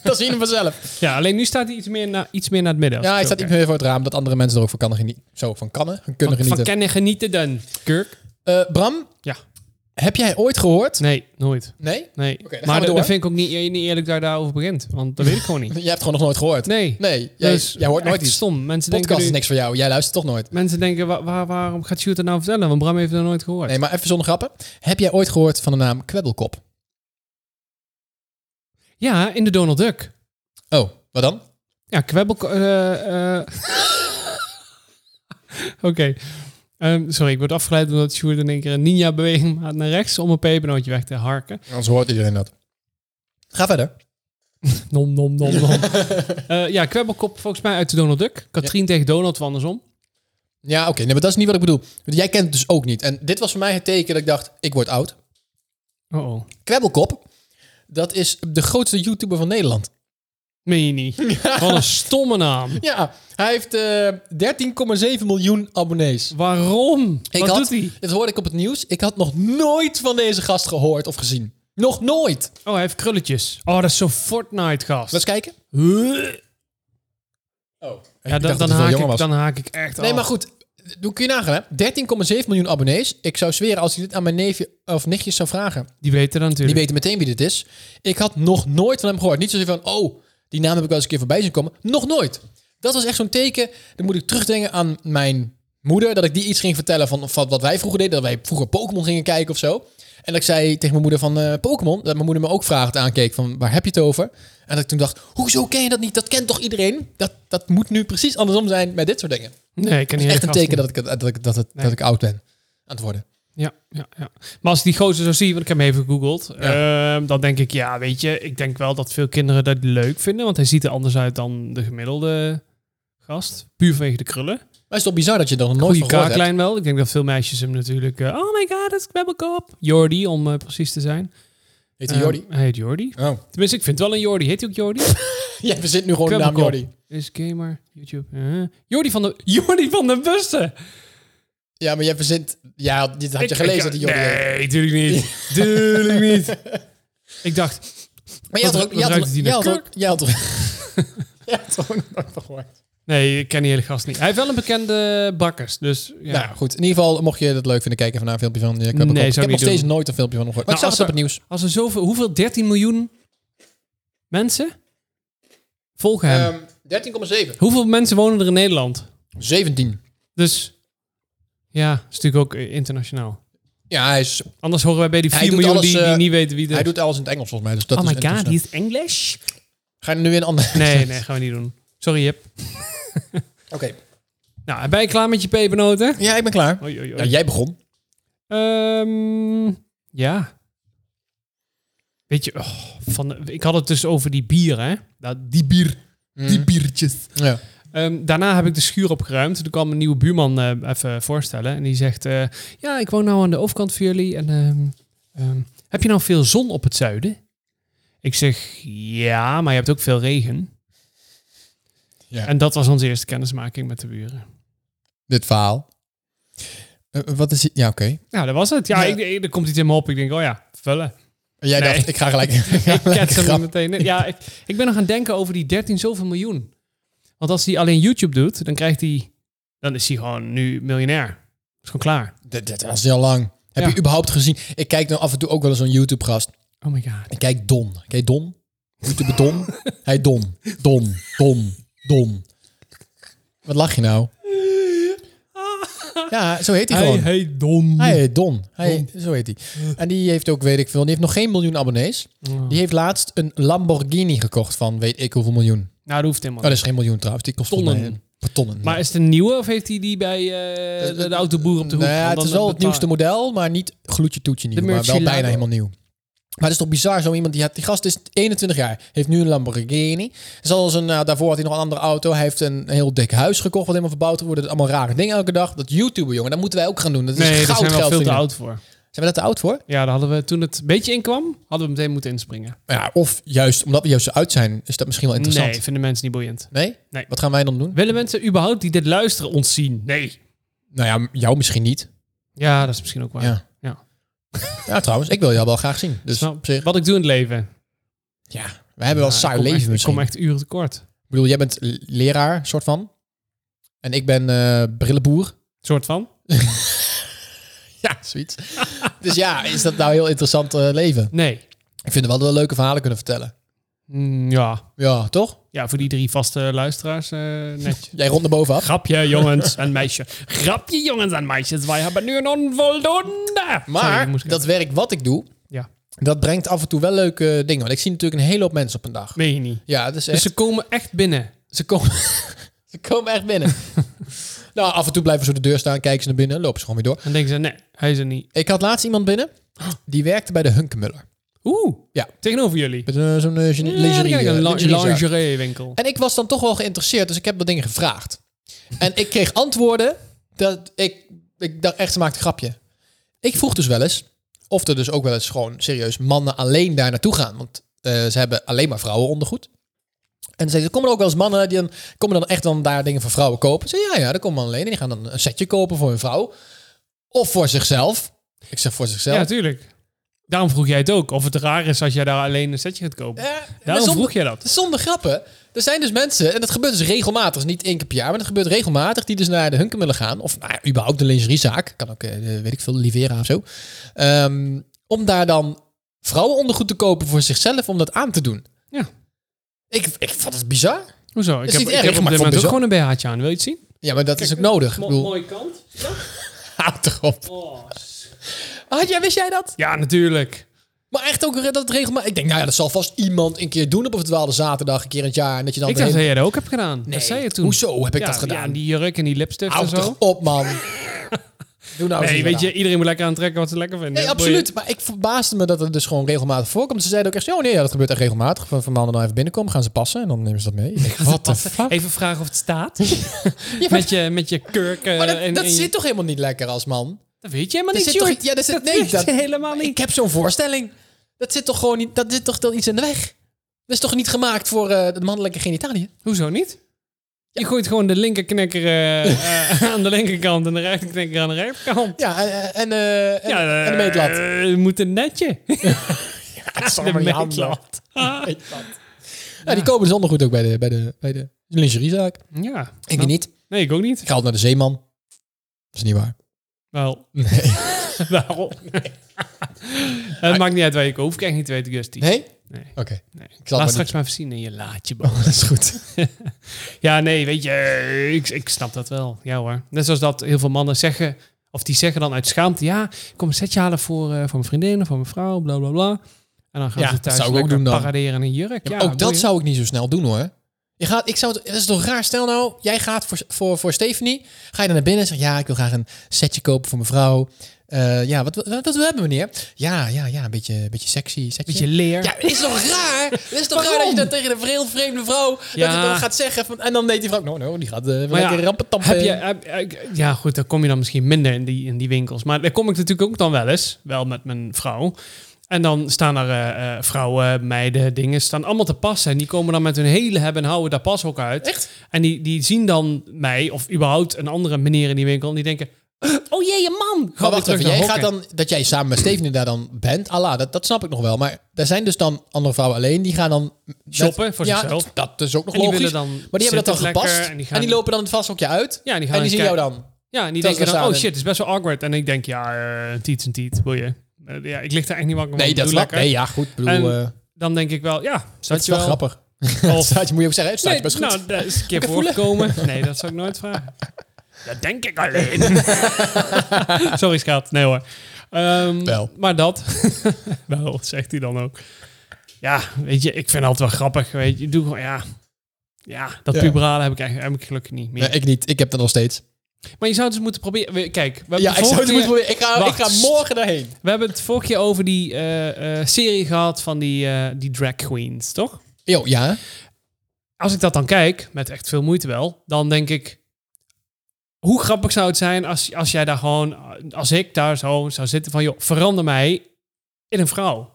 Dan zien we vanzelf.
ja, alleen nu staat hij iets meer, na, iets meer naar het midden.
Ja, hij staat niet meer voor het raam dat andere mensen er ook van kunnen genieten. Zo, van kannen, van kunnen
van, van
genieten.
kennen genieten dan. Kirk?
Eh, Bram,
Ja.
heb jij ooit gehoord?
Nee, nooit.
Nee?
Nee.
Oké, dan gaan we
maar dat-
door.
dat vind ik ook niet, eh, niet eerlijk dat je daarover begint. Want dat weet ik
[LAUGHS]
gewoon niet.
Jij hebt gewoon nog nooit gehoord?
Nee.
Nee, jij,
Dus
jij hoort nooit
echt
iets.
stom. Mensen denken
Podcast
nu,
is niks voor jou. Jij luistert toch nooit.
Mensen denken, wa- waar- waarom gaat Sjoerd het nou vertellen? Want Bram heeft het nog nooit gehoord.
Nee, maar even zonder grappen. Heb jij ooit gehoord van de naam Kwebbelkop?
Ja, in de Donald Duck.
Oh, wat dan?
Ja, kwebbel... eh, [LAUGHS] eh. Oké. Ehm, sorry, ik word afgeleid omdat Sjoerd in één keer een ninja-beweging maakt naar rechts om een pepernootje weg te harken.
Anders hoort iedereen dat. Ga verder.
Nom, nom, nom,
[LAUGHS]
nom. Eh, ja, kwebbelkop volgens mij uit de Donald Duck. Katrien tegen Donald, of andersom.
Ja, oké. Nee, maar dat is niet wat ik bedoel. Want jij kent het dus ook niet. En dit was voor mij het teken dat ik dacht, ik word oud.
Oh, oh.
Kwebbelkop, dat is de grootste YouTuber van Nederland.
Meen je
[LAUGHS]
niet? Wat een stomme naam.
Ja, hij heeft eh 13,7 miljoen abonnees.
Waarom?
Ik
Wat
had,
doet hij?
Dat hoorde ik op het nieuws. Ik had nog nooit van deze gast gehoord of gezien. Nog nooit.
Oh, hij heeft krulletjes. Oh, dat is zo'n Fortnite gast.
Laat eens kijken. Oh.
ja, dan, dan, haak ik, dan haak ik echt
Nee,
af.
maar goed. Doe kun je nagaan, hè? 13,7 miljoen abonnees. Ik zou zweren, als ik dit aan mijn neefje of nichtjes zou vragen,
Die weten dat
die
natuurlijk.
weten meteen wie dit is. Ik had nog nooit van hem gehoord. Niet zozeer van, oh, die naam heb ik wel eens een keer voorbij zien komen. Nog nooit. Dat was echt zo'n teken. Dan moet ik terugdenken aan mijn moeder, dat ik die iets ging vertellen van, van wat wij vroeger deden. Dat wij vroeger Pokémon gingen kijken of zo. En dat ik zei tegen mijn moeder van eh, Pokémon, dat mijn moeder me ook vraagt aankeek van waar heb je het over? En dat ik toen dacht, hoezo ken je dat niet? Dat kent toch iedereen? Dat, dat moet nu precies andersom zijn met dit soort dingen.
nee, ik ken die hele
Echt een
gast
teken
niet.
dat ik, het- dat, ik, dat, het, dat ik oud ben aan het worden.
Ja, ja, ja. Maar als ik die gozer zo zie, want ik heb hem even gegoogeld, ehm, dan denk ik, ja, weet je, ik denk wel dat veel kinderen dat leuk vinden, want hij ziet er anders uit dan de gemiddelde gast. Puur vanwege de krullen.
Maar het is toch bizar dat je dan nog nooit
Goeie
van gehoord hebt?
kaaklijn wel. Ik denk dat veel meisjes hem natuurlijk... eh, oh my god, dat is Kwebbelkop. Jordi, om eh, precies te zijn.
Heet hij Jordi?
Ehm, hij heet Jordi.
Oh.
Tenminste, ik vind wel een Jordi. Heet hij ook Jordi?
Ja, we zitten nu gewoon de naam
Kwebbelkop.
Jordi.
Is gamer, YouTube. eh. Jordi van de... [LAUGHS] Jordi van de Bussen!
Ja, maar jij verzint... Ja, dit had je gelezen dat hij Jordi heet.
Nee, tuurlijk
[LAUGHS]
niet. [LAUGHS] tuurlijk niet. Ik dacht...
Maar jij had
Wat
er ook...
ru-
jij
wat
had er-
ruikt die
jij
naar
had er ook- Jij had er
[LAUGHS]
jij had er ook nooit van gehoord.
Nee, ik ken die hele gast niet. Hij heeft wel een bekende bakkers, dus ja.
Nou goed, in ieder geval mocht je dat leuk vinden kijken vandaag een filmpje van eh, Kwebbelkop.
Nee, zou
Ik
ik
heb nog
niet
steeds
doen.
nooit een filmpje van hem gehoord. Maar
Nou, als
ik zag het op
er-
het nieuws.
Als er zoveel... Hoeveel? 13 miljoen mensen volgen hem.
Ehm, 13,7.
Hoeveel mensen wonen er in Nederland?
17.
Dus ja, is natuurlijk ook eh, internationaal.
Ja, hij, is,
Anders horen wij bij die
Hij
4
doet
miljoen
alles,
die,
eh,
die niet weten wie de...
hij doet alles in het Engels volgens mij. Dus dat
Dus- oh
is
my god,
interessant.
die is English?
Ga je nu weer een ander... [LAUGHS]
Nee, nee, gaan we niet doen. Sorry, Jip.
Oké.
Nou, ben je klaar met je pepernoten?
Ja, ik ben klaar.
Oei, oei,
Ja,
oei.
jij begon.
Ehm, ja. Weet je, oh, van de- ik had het dus over die bier, hè? Nou, die bier. Die biertjes.
Ja.
Ehm, daarna heb ik de schuur opgeruimd. Toen kwam een nieuwe buurman eh, even voorstellen. En die zegt, eh, ja, ik woon nou aan de overkant van jullie. En ehm, ehm, heb je nou veel zon op het zuiden? Ik zeg, ja, maar je hebt ook veel regen.
Ja.
En dat was onze eerste kennismaking met de buren.
Dit verhaal. Eh, wat is... Ja, oké.
Nou, dat was het. Ja,
Ja.
Ik, ik- er komt iets in me op. Ik denk, oh ja, vullen.
En Jij
Nee.
dacht, ik ga gelijk... [LAUGHS] ik ga
[LAUGHS] Ik
gelijk
ket
een
hem
grap.
meteen. Nee, Ja, ik, ik ben nog aan het denken over die 13 zoveel miljoen. Want als hij alleen YouTube doet, dan krijgt hij... Dan is hij gewoon nu miljonair. Is gewoon klaar.
Dat, dat was heel lang. Heb
Ja.
je überhaupt gezien? Ik kijk nou af en toe ook wel eens zo'n YouTube-gast.
Oh my god.
Ik kijk Don. Ken je Don? YouTuber
[LAUGHS]
Don? Hij Don. Don. Don. Don. Wat lach je nou? Ja, zo heet hij gewoon.
hey, Don.
Hij heet Don. Hij, zo heet hij. En die heeft ook, weet ik veel, die heeft nog geen miljoen abonnees.
Oh.
Die heeft laatst een Lamborghini gekocht van weet ik hoeveel miljoen. Oh,
Nou, dat hoeft helemaal
dat
niet.
is geen miljoen trouwens. Die kost volgens
Tonnen.
mij een paar tonnen.
Maar is het een nieuwe of heeft hij die bij eh, de, de autoboer op de hoek?
Nou ja,
Want
het
dan-
is wel het
dan-
nieuwste model, maar niet gloedje toetje nieuw.
De
Maar wel
Murcielago.
bijna helemaal nieuw. Maar het is toch bizar, zo iemand die had... Die gast is 21 jaar, heeft nu een Lamborghini. Zoals een, eh, daarvoor had hij nog een andere auto. Hij heeft een heel dik huis gekocht, wat helemaal verbouwd wordt. Het allemaal rare dingen elke dag. Dat YouTuber, jongen, dat moeten wij ook gaan doen. Dat is
Nee, daar
goud
zijn we wel
geld
veel te
verdienen.
oud voor.
Zijn we dat te oud voor?
Ja, daar hadden we toen het een beetje inkwam, hadden we meteen moeten inspringen.
Ja, of juist, omdat we juist zo uit zijn, is dat misschien wel interessant.
Nee, vinden mensen niet boeiend.
Nee?
Nee.
Wat gaan wij dan doen?
Willen mensen überhaupt die dit luisteren ons zien? Nee.
Nou ja, jou misschien niet.
Ja, dat is misschien ook waar.
Ja.
Ja.
Ja, trouwens, ik wil jou wel graag zien. Dus
Snap.
op zich,
Wat ik doe in het leven.
ja, wij hebben wel een saai
ik kom
leven
echt,
misschien.
Ik kom echt uren tekort.
Ik bedoel, jij bent l- leraar, soort van. En ik ben eh, brillenboer. [LAUGHS]
Soort van.
Ja,
[LAUGHS]
zoiets. dus ja, is dat nou een heel interessant eh, leven?
Nee.
Ik vind wel dat we leuke verhalen kunnen vertellen.
Mm, ja.
Ja, toch?
ja, voor die drie vaste luisteraars eh netjes.
[LAUGHS] Jij rond naar bovenaf.
Grapje, jongens en meisjes. Grapje, jongens en meisjes. Wij hebben nu een onvoldoende. Sorry,
Maar
ik moest
dat werk wat ik doe,
Ja,
dat brengt af en toe wel leuke dingen. Want ik zie natuurlijk een hele hoop mensen op een dag.
meen je niet.
Ja, het is echt...
Dus ze komen echt binnen.
Ze komen, ze komen echt [LAUGHS]
[LAUGHS]
binnen. nou, af en toe blijven ze voor de deur staan, kijken ze naar binnen, lopen ze gewoon weer door.
Dan denken ze, nee, hij is er niet.
Ik had laatst iemand binnen, die werkte bij de Hunkemuller.
Oeh,
Ja.
tegenover jullie.
Met eh, zo'n eh, gene-
Ja, dan
lingerie,
kijk ik
eh,
een la-
lingeriezaak.
lingerie-winkel.
En ik was dan toch wel geïnteresseerd, dus ik heb wat dingen gevraagd. En ik kreeg antwoorden dat ik, ik dacht echt, ze maakt een grapje. Ik vroeg dus wel eens of er dus ook wel eens gewoon serieus mannen alleen daar naartoe gaan. Want eh, ze hebben alleen maar vrouwen ondergoed. En ze zeiden, komen er ook wel eens mannen die dan, komen dan echt dan daar dingen voor vrouwen kopen? Ze zeiden, ja, ja, daar komen mannen alleen. En die gaan dan een setje kopen voor hun vrouw. Of voor zichzelf. Ik zeg voor zichzelf.
Ja, tuurlijk. Daarom vroeg jij het ook. Of het raar is als jij daar alleen een setje gaat kopen.
Ja, maar
Daarom
Eh, zonder-
vroeg jij dat.
Zonder grappen. Er zijn dus mensen, en dat gebeurt dus regelmatig, dus niet één keer per jaar, maar dat gebeurt regelmatig, die dus naar de Hunkemullen gaan. Of nou, ja, überhaupt de lingeriezaak. Kan ook, eh, weet ik veel, Livera of zo. Ehm, om daar dan vrouwenondergoed te kopen voor zichzelf, om dat aan te doen.
Ja.
Ik, ik vond het bizar.
Hoezo? Ik
is
heb,
niet
ik
erg,
heb op
maar
dit
ik
moment
vond
ook
het
gewoon een BH'tje aan. Wil je het zien?
Ja, maar dat is ook nodig. Ik bedoel,
mooie kant.
haat erop.
Oh,
Had jij, wist jij dat?
Ja, natuurlijk.
Maar echt ook dat het regelmatig... Ik denk, nou ja, dat zal vast iemand een keer doen op een verdwaalde zaterdag, een keer in het jaar. En dat je dan
Ik
weer
dacht dat
helemaal-
jij dat ook hebt gedaan.
Nee,
Dat zei je toen.
Hoezo heb ik
Ja,
dat gedaan?
Ja, die jurk en die lipstift en
Houd
zo.
toch op, man.
[LAUGHS]
Doe nou eens
Nee,
niet
weet
meer
je, iedereen moet lekker aantrekken wat ze lekker vinden.
Nee,
hè?
absoluut. Maar ik verbaasde me dat het dus gewoon regelmatig voorkomt. Ze zeiden ook echt, zo, oh nee, ja, dat gebeurt echt regelmatig. Van, van mannen dan even binnenkomen, gaan ze passen en dan nemen ze dat mee. Ik denk, Wat de fuck?
Even vragen of het staat.
[LAUGHS]
[LAUGHS]
Ja, maar
met, je, met je kurk. eh,
[LAUGHS] maar dat,
en,
dat
en je-
zit toch helemaal niet lekker als man?
Dat weet je helemaal
Dat
niet,
zit toch,
Sjoerd.
ja, dat zit,
Dat
nee,
weet
dat,
je helemaal niet.
ik heb zo'n voorstelling. Dat zit toch gewoon niet, dat zit toch dan iets in de weg? Dat is toch niet gemaakt voor eh de mannelijke genitalie?
Hoezo niet? Je gooit gewoon de linkerknikker eh, eh, [LAUGHS] aan de linkerkant en de rechterknikker aan de rechterkant.
Ja, en, en, eh, en,
eh,
en de meetlat.
eh, we moeten
[LAUGHS]
netje.
Dat is
[LAUGHS] de
allemaal jammer.
meetlat.
[LAUGHS] Meetlat. Ja,
eh.
die komen dus ondergoed ook bij de, bij de, bij de lingeriezaak.
Ja.
Ik weet niet.
Nee, ik ook niet.
Ik ga altijd naar de zeeman. Dat is niet waar.
Wel. Nee. [LAUGHS]
[LAUGHS]
Wel. [LAUGHS] Het maakt niet uit waar je koopt. Hoef ik echt niet te weten, Gusty.
Nee?
Nee.
Oké.
Nee.
Ik zal
Laat
het maar
straks maar even zien in je laadje, Bo.
niet- Oh, dat is goed.
[LAUGHS] Ja, nee, weet je, eh, ik, ik snap dat wel. Ja hoor. Net zoals dat heel veel mannen zeggen, of die zeggen dan uit schaamte, ja, ik kom een setje halen voor, eh, voor mijn vriendin of voor mijn vrouw, bla bla bla. En dan gaan
Ja,
ze
dat
thuis
zou ik ook
lekker
doen dan.
paraderen in een jurk. Ja,
ook dat
boeien.
zou ik niet zo snel doen hoor. Je gaat, ik zou het, dat is toch raar? Stel nou, jij gaat voor, voor, voor Stephanie. Ga je dan naar binnen en zeg ja, ik wil graag een setje kopen voor mijn vrouw. Eh, ja, wat, wat, wat willen we hebben meneer? Ja, ja, ja, een beetje, beetje sexy setje.
Beetje leer.
ja, is toch raar? Het is toch raar dat je dat tegen een heel vreemde vrouw dat
Ja.
je dan gaat zeggen. Van, en dan weet die vrouw, nou, nou, die gaat eh
Maar ja,
lekker rampentampen.
Heb je, heb- heb- ja, goed, dan kom je dan misschien minder in die, in die winkels. Maar daar kom ik natuurlijk ook dan wel eens, wel met mijn vrouw. En dan staan er eh, eh, vrouwen, meiden, dingen, staan allemaal te passen. En die komen dan met hun hele hebben en houden daar pas ook uit.
Echt?
En die, die zien dan mij, of überhaupt een andere meneer in die winkel. En die denken, oh jee, je man. Ga
Maar
weer
wacht
terug
even,
naar
jij
hokken.
gaat dan, dat jij samen met Steven daar dan bent, Allah, dat, dat snap ik nog wel. Maar er zijn dus dan andere vrouwen alleen, die gaan dan... met-
Shoppen voor
ja,
zichzelf.
dat- dat is ook nog
En die
logisch.
willen dan
maar die hebben dat
zitten
dan
lekker
gepast
en
en,
die
die
gaan-
lopen dan het vasthokje uit
Ja, die gaan
en die
eens
zien jou
kijken.
dan.
Ja, en die
Terwijl ze
denken dan,
staan
oh
en-
shit, het is best wel awkward. En ik denk, ja, eh, een tiet is een tiet, boeien. Eh, ja, ik lig daar echt niet wakker van.
Nee, dat
Doe
snap
lekker.
Nee, ja, goed. Ik bedoel,
En-
eh,
Dan denk ik wel, ja,
dat
staat
is
je
wel
wel
grappig. [LAUGHS]
Of-
Het staat, je moet je ook zeggen, het staat je best goed.
Nou, dat is een keer
Lekker voelen.
voorgekomen.
[LAUGHS]
Nee, dat zou ik nooit vragen. Dat denk ik alleen. [LAUGHS] Sorry, schat. Nee hoor. Ehm,
Wel.
Maar dat. [LAUGHS] wel, zegt hij dan ook. Ja, weet je, ik vind het altijd wel grappig. Weet je, doe gewoon, ja. Ja, dat
Ja.
puberale heb ik, eigenlijk, heb ik gelukkig niet meer.
Nee, ik niet. Ik heb dat nog steeds.
Maar je zou het dus moeten proberen. we- Kijk, we hebben,
Ja,
de
ik zou
vorige
het moeten
keer,
proberen. Ik ga, ik
Wacht.
ga morgen daarheen.
we hebben het vorige keer over die eh, eh, serie gehad van die, eh, die drag queens, toch?
Jo, ja.
als ik dat dan kijk, met echt veel moeite wel, dan denk ik. Hoe grappig zou het zijn als, als jij daar gewoon, als ik daar zo zou zitten van, joh, verander mij in een vrouw.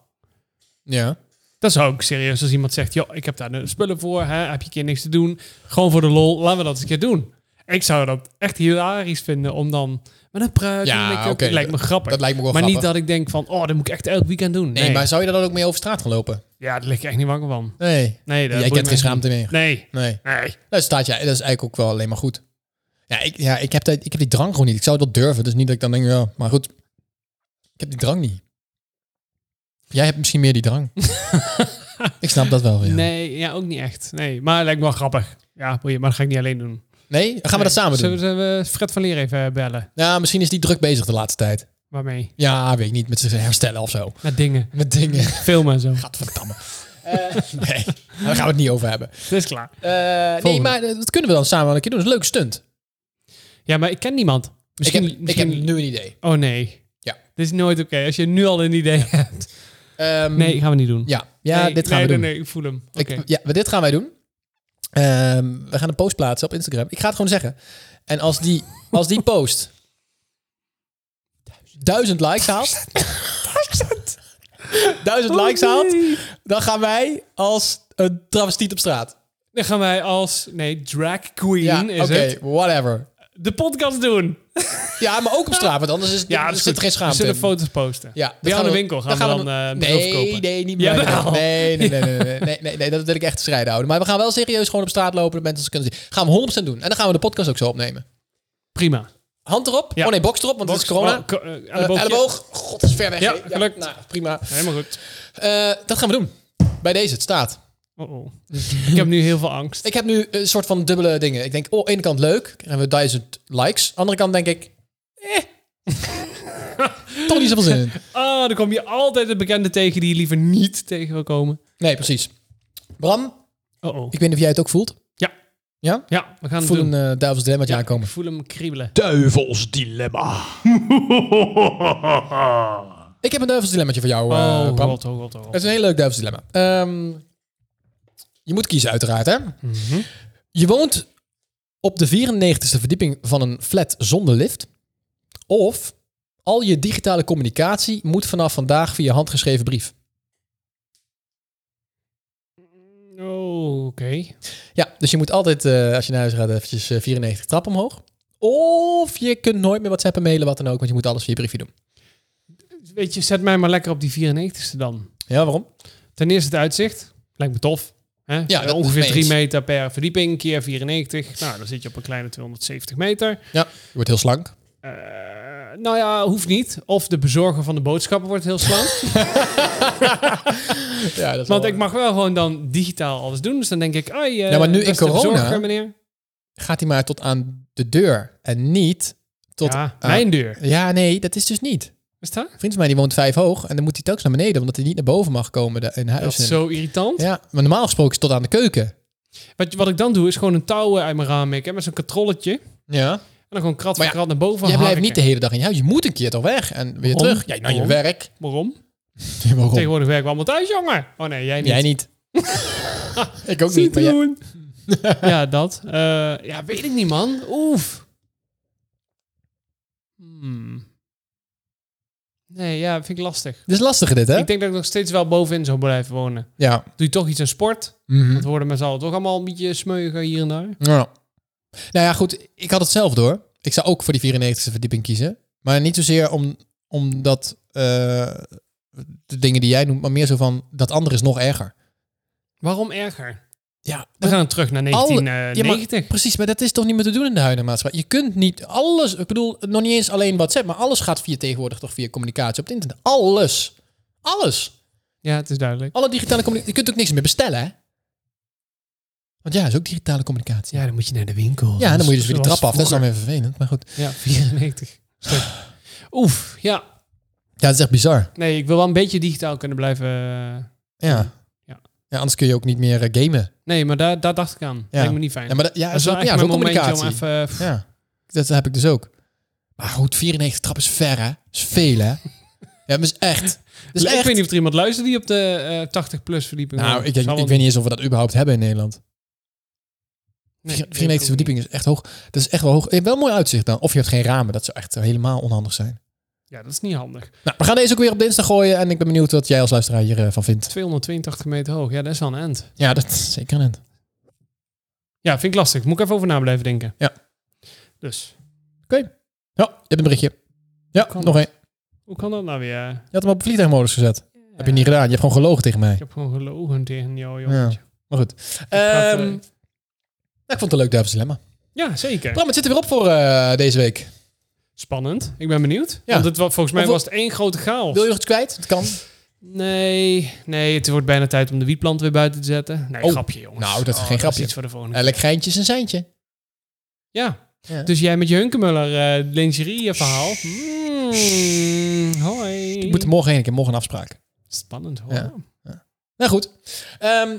Ja.
Dat zou ik serieus als iemand zegt, joh, ik heb daar de spullen voor, hè, heb je een keer niks te doen. Gewoon voor de lol, laten we dat eens een keer doen. Ik zou dat echt hilarisch vinden om dan met een pruik en
Ja,
een make-up,
oké,
het lijkt me grappig.
dat lijkt me ook wel
Maar niet
grappig.
dat ik denk van, oh, dat moet ik echt elk weekend doen. Nee,
Nee, maar zou je daar dan ook mee over straat gaan lopen?
ja, daar lig ik echt niet wakker van.
Nee.
Nee, dat
Jij
boeit me
kent geen
echt
schaamte
niet.
meer.
Nee,
Nee.
nee.
Dat, Nou, staat, ja, dat is eigenlijk ook wel alleen maar goed. Ja, ik, ja, ik, heb, dat, ik heb die drang gewoon niet. Ik zou dat durven. Dus niet dat ik dan denk, ja, maar goed. Ik heb die drang niet. Jij hebt misschien meer die [LAUGHS] drang. ik snap dat wel, ja. Nee?
Nee, ja, ook niet echt. Nee, maar het lijkt me wel grappig. Ja, boeien, maar dat ga ik niet alleen doen.
Dan gaan we dat samen doen?
Zullen we, zullen we Fred van Leer even eh, bellen?
Ja, misschien is die druk bezig de laatste tijd.
Waarmee?
Ja, weet ik niet. Met zijn herstellen of zo.
Met dingen.
Met dingen.
[LAUGHS] Filmen en zo.
Gadverdamme. [LAUGHS] Eh, nee, daar gaan we het niet over hebben.
Dat is klaar.
Eh, nee,
Volgende.
maar eh, dat kunnen we dan samen wel een keer doen. Dat is een leuke stunt.
Ja, maar ik ken niemand.
Ik
Misschien,
heb, ik
misschien-
heb nu een idee.
Oh nee.
Ja.
Dit is nooit oké. Als je nu al een idee [LAUGHS] hebt.
Ehm,
Nee, gaan we niet doen.
Ja, ja
Nee,
dit gaan
nee,
we doen.
Nee, nee, ik voel hem. Oké.
Ik, ja, maar dit gaan wij doen. Ehm, we gaan een post plaatsen op Instagram. Ik ga het gewoon zeggen. En als die, als die post duizend likes
[LAUGHS]
haalt... Duizend!
Oh,
likes
nee.
haalt, dan gaan wij als een travestiet op straat.
Dan gaan wij als, nee, drag queen
Ja,
is
oké,
het,
whatever.
de podcast doen.
Ja, maar ook op straat, want anders is,
Ja,
er
dat is
zit
goed.
geen
We
schaamte
zullen
in.
foto's posten.
Ja, dat
Bij jou in de
we-
winkel gaan we
gaan
dan
we-
eh een
nee,
bedrijf kopen.
Nee, niet
Ja,
meer.
wel.
Nee, nee, nee,
[LAUGHS]
nee, nee, nee, nee, nee, dat wil ik echt strijden houden. Maar we gaan wel serieus gewoon op straat lopen, dat mensen ons kunnen zien. Gaan we 100% doen. En dan gaan we de podcast ook zo opnemen.
Prima.
Hand erop.
Ja.
Oh nee, box erop, want
Box,
het is corona.
oh, ko- eh,
Eh,
elleboogje.
elleboog. God, dat is ver weg.
Ja,
hè?
gelukt.
nou, prima.
Helemaal goed.
Eh, dat gaan we doen. Bij deze, het staat.
Oh,
[LAUGHS]
oh. ik heb nu heel veel angst.
Ik heb nu een soort van dubbele dingen. Ik denk, oh, aan de ene kant leuk. Krijgen we duizend likes. Aan de andere kant denk ik, eh. [LAUGHS] Toch niet zoveel zin in.
Ah, dan kom je altijd de bekende tegen die je liever niet tegen wil komen.
Nee, precies. Bram,
Oh, oh.
ik weet niet of jij het ook voelt.
Ja.
Ja?
Ja, we gaan
Voel
het doen.
een eh duivels dilemmaatje
Ja,
aankomen.
Ik voel hem kriebelen.
Duivels dilemma.
Ik heb een duivels dilemmaatje voor jou, eh,
oh,
Bram.
god, oh, god, oh, god.
Het is een heel leuk duivels dilemma. Ehm, je moet kiezen uiteraard, hè? Je woont op de 94ste verdieping van een flat zonder lift. Of al je digitale communicatie moet vanaf vandaag via handgeschreven brief.
Oh, oké.
Ja, dus je moet altijd, eh, als je naar huis gaat, eventjes eh, 94 trap omhoog. Of je kunt nooit meer WhatsApp en mailen, wat dan ook, want je moet alles via briefje doen.
Dus Weet je, zet mij maar lekker op die 94ste dan.
Ja, waarom?
Ten eerste het uitzicht. Lijkt me tof. Hè? Eh,
Ja, dat-
ongeveer
mee
3
eens.
meter per verdieping, keer 94. Nou, dan zit je op een kleine 270 meter.
Ja, je wordt heel slank.
Eh, nou ja, hoeft niet. Of de bezorger van de boodschappen wordt heel slank.
Ja, dat is
Want
wel-
ik mag wel gewoon dan digitaal alles doen. Dus dan denk ik, ai, eh,
Ja, maar nu in
beste
corona-
bezorger, meneer.
Gaat hij maar tot aan de deur en niet tot... Ah.
ja,
aan-
mijn deur.
Ja, nee, dat is dus niet.
Is dat?
Een vriend van mij die woont vijf hoog en dan moet hij telkens naar beneden, omdat hij niet naar boven mag komen da- in
Dat
huis.
is
En-
zo irritant.
Ja, maar normaal gesproken is het tot aan de keuken.
Wat, wat ik dan doe, is gewoon een touw eh, uit mijn raam maken. Met zo'n katrolletje. En
Ja.
dan gewoon krat voor
Maar ja,
krat naar boven
Jij blijft
harken.
niet de hele dag in je huis. Je moet een keer toch weg en weer
Waarom?
terug. Ja, naar je
Waarom? [LAUGHS]
werk.
Waarom?
Ja, waarom?
Tegenwoordig werken we allemaal thuis, jongen. Oh nee, jij niet.
Jij
[LAUGHS]
niet. ik ook niet.
Niet
Maar jij-
doen. [LAUGHS] ja, dat. Eh, ja, weet ik niet, man. Oef. Hmm. Nee, ja, vind ik lastig.
Dit is lastig dit, hè?
Ik denk dat ik nog steeds wel bovenin zou blijven wonen.
Ja.
Doe je toch iets aan sport?
Mhm.
Dat worden met z'n allen toch allemaal een beetje smeuigen hier en daar.
ja. Nou ja, goed. Ik had het zelf door. Ik zou ook voor die 94e verdieping kiezen. Maar niet zozeer om, omdat eh, de dingen die jij noemt, maar meer zo van dat andere is nog erger.
Waarom erger?
Ja,
We gaan terug naar
Alle-
1990.
Ja, maar, precies, maar dat is toch niet meer te doen in de huidige maatschappij. Je kunt niet alles, ik bedoel, nog niet eens alleen WhatsApp, maar alles gaat via tegenwoordig toch via communicatie op het internet. Alles. Alles.
ja, het is duidelijk.
Alle digitale communicatie. Je kunt ook niks meer bestellen, hè? Want ja, is ook digitale communicatie.
Ja, dan moet je naar de winkel.
Ja, en dan moet je dus
Zoals-
weer die trap af. Dat is dan
zoals
weer vervelend, maar goed.
vroeger.
[LAUGHS]
Ja, 94. Oef, ja.
Ja, dat is echt bizar.
Nee, ik wil wel een beetje digitaal kunnen blijven. eh,
Ja.
Ja.
Ja, anders kun je ook niet meer eh, gamen.
Nee, maar daar, daar dacht ik aan.
Ja.
Lijkt me niet fijn.
Ja, maar dat, ja,
dat is wel
zo-
echt
ja,
mijn
zo'n
momentje om
communicatie.
even... eh, pff,
Ja, dat heb ik dus ook. Maar goed, 94 trap is ver, hè? is veel, hè? Ja, maar is echt. Dat is
Ik
Dus echt.
weet niet of er iemand luistert die op de 80-plus verdieping
Nou,
woont.
ik, denk,
Zal wel
ik weet niet eens of we dat überhaupt hebben in Nederland.
Nee,
Vier-
ik
94
ook niet.
verdieping is echt hoog. Dat is echt wel hoog. Je hebt wel een mooi uitzicht dan. Of je hebt geen ramen. Dat zou echt helemaal onhandig zijn.
Ja, dat is niet handig.
Nou, we gaan deze ook weer op de Insta gooien. En ik ben benieuwd wat jij als luisteraar hiervan van vindt.
282 meter hoog. Ja, dat is wel een end.
Ja, dat is zeker net.
Ja, vind ik lastig. Moet ik even over na blijven denken.
Ja.
Dus,
Ja, je hebt een berichtje. Ja,
Kan
nog
dat?
één.
hoe kan dat nou weer? Eh,
Je had hem op vliegtuigmodus gezet. Heb je niet gedaan. Je hebt gewoon gelogen tegen mij.
Ik heb gewoon gelogen tegen jou, jongetje.
Maar goed.
ga het,
Ehm,
eh,
nou, ik vond het een leuk duivels dilemma.
Ja, zeker.
Bram, het zit er weer op voor eh, deze week.
Spannend. Ik ben benieuwd.
Ja.
Want het, wa- volgens mij
Of-
was het één grote chaos.
Wil je nog iets kwijt? Het kan.
Nee, nee, het wordt bijna tijd om de wietplant weer buiten te zetten. Nee,
Oh.
grapje jongens.
Nou, dat is geen
Is
grapje.
iets voor de volgende.
Elk geintje is een seintje.
Mm, Ja.
Ja.
Dus jij met je Hunkemuller eh lingerie verhaal. Mm, hoi.
Ik moet er morgen heen. Ik heb morgen een afspraak.
Spannend hoor.
Ja. Nou goed. Ehm,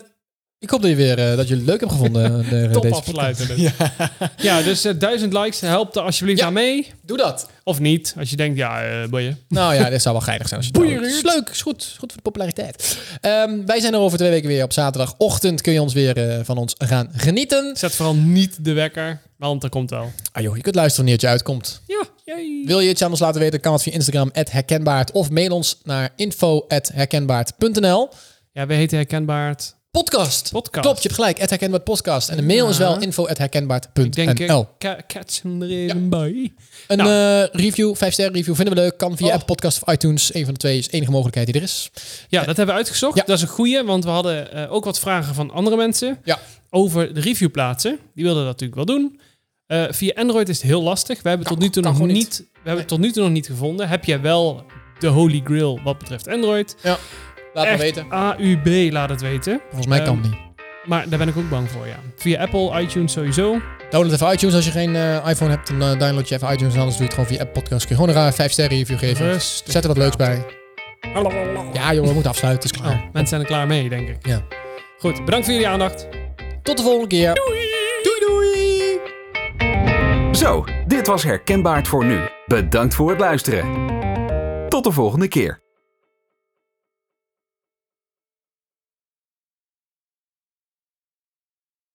ik hoop dat je weer eh, dat jullie het leuk hebben
[LAUGHS]
gevonden. eh, de-
Top
deze
afsluiten.
podcast.
dus. Ja. dus eh, duizend likes, help er alsjeblieft
Ja.
aan mee.
Doe dat.
Of niet, als je denkt, ja, eh boeien.
Nou ja, dit zou wel geinig zijn. Als je het doet. is leuk, is goed. Is goed voor de populariteit. Ehm, wij zijn er over twee weken weer op zaterdagochtend. Kun je ons weer eh, van ons gaan genieten.
Zet vooral niet de wekker, want er komt wel.
Ah joh, je kunt luisteren wanneer het je uitkomt.
Ja, jee.
Wil je iets anders laten weten, kan het via Instagram herkenbaard of mail ons naar info herkenbaard.nl.
Ja, we heten Herkenbaard.
Podcast.
Podcast.
Klopt, je hebt gelijk. Het herkenbaar podcast. En de mail is wel
Ja. Ik denk, eh,
info.herkenbaar.nl.
ka- catch hem er even bij.
Een
Nou.
eh, review, 5 sterren review, vinden we leuk. Kan via
Oh.
Apple Podcast of iTunes. Een van de twee is de enige mogelijkheid die er is.
Ja, dat hebben we uitgezocht.
Ja.
Dat is een goeie, want we hadden eh, ook wat vragen van andere mensen
Ja.
over de review plaatsen. Die wilden dat natuurlijk wel doen. Eh, via Android is het heel lastig. We hebben het tot nu toe
kan
nog niet,
gewoon
we hebben het tot nu toe nog niet gevonden. Heb jij wel de holy grail wat betreft Android?
Laat
Echt
me weten.
AUB laat het weten.
Volgens mij kan
Ehm,
het niet.
Maar daar ben ik ook bang voor, ja. Via Apple, iTunes sowieso.
Download even iTunes. Als je geen eh, iPhone hebt, dan eh, download je even iTunes. En anders doe je het gewoon via Apple Podcast. Kun je gewoon een 5 sterren review geven.
Rustig
Zet er wat leuks bij.
Oh,
Ja joh, we moeten afsluiten. Het is klaar.
mensen zijn er klaar mee, denk ik.
Ja.
Goed, bedankt voor jullie aandacht.
Tot de volgende keer. Doei doei.
Zo, dit was Herkenbaar voor nu. Bedankt voor het luisteren. Tot de volgende keer.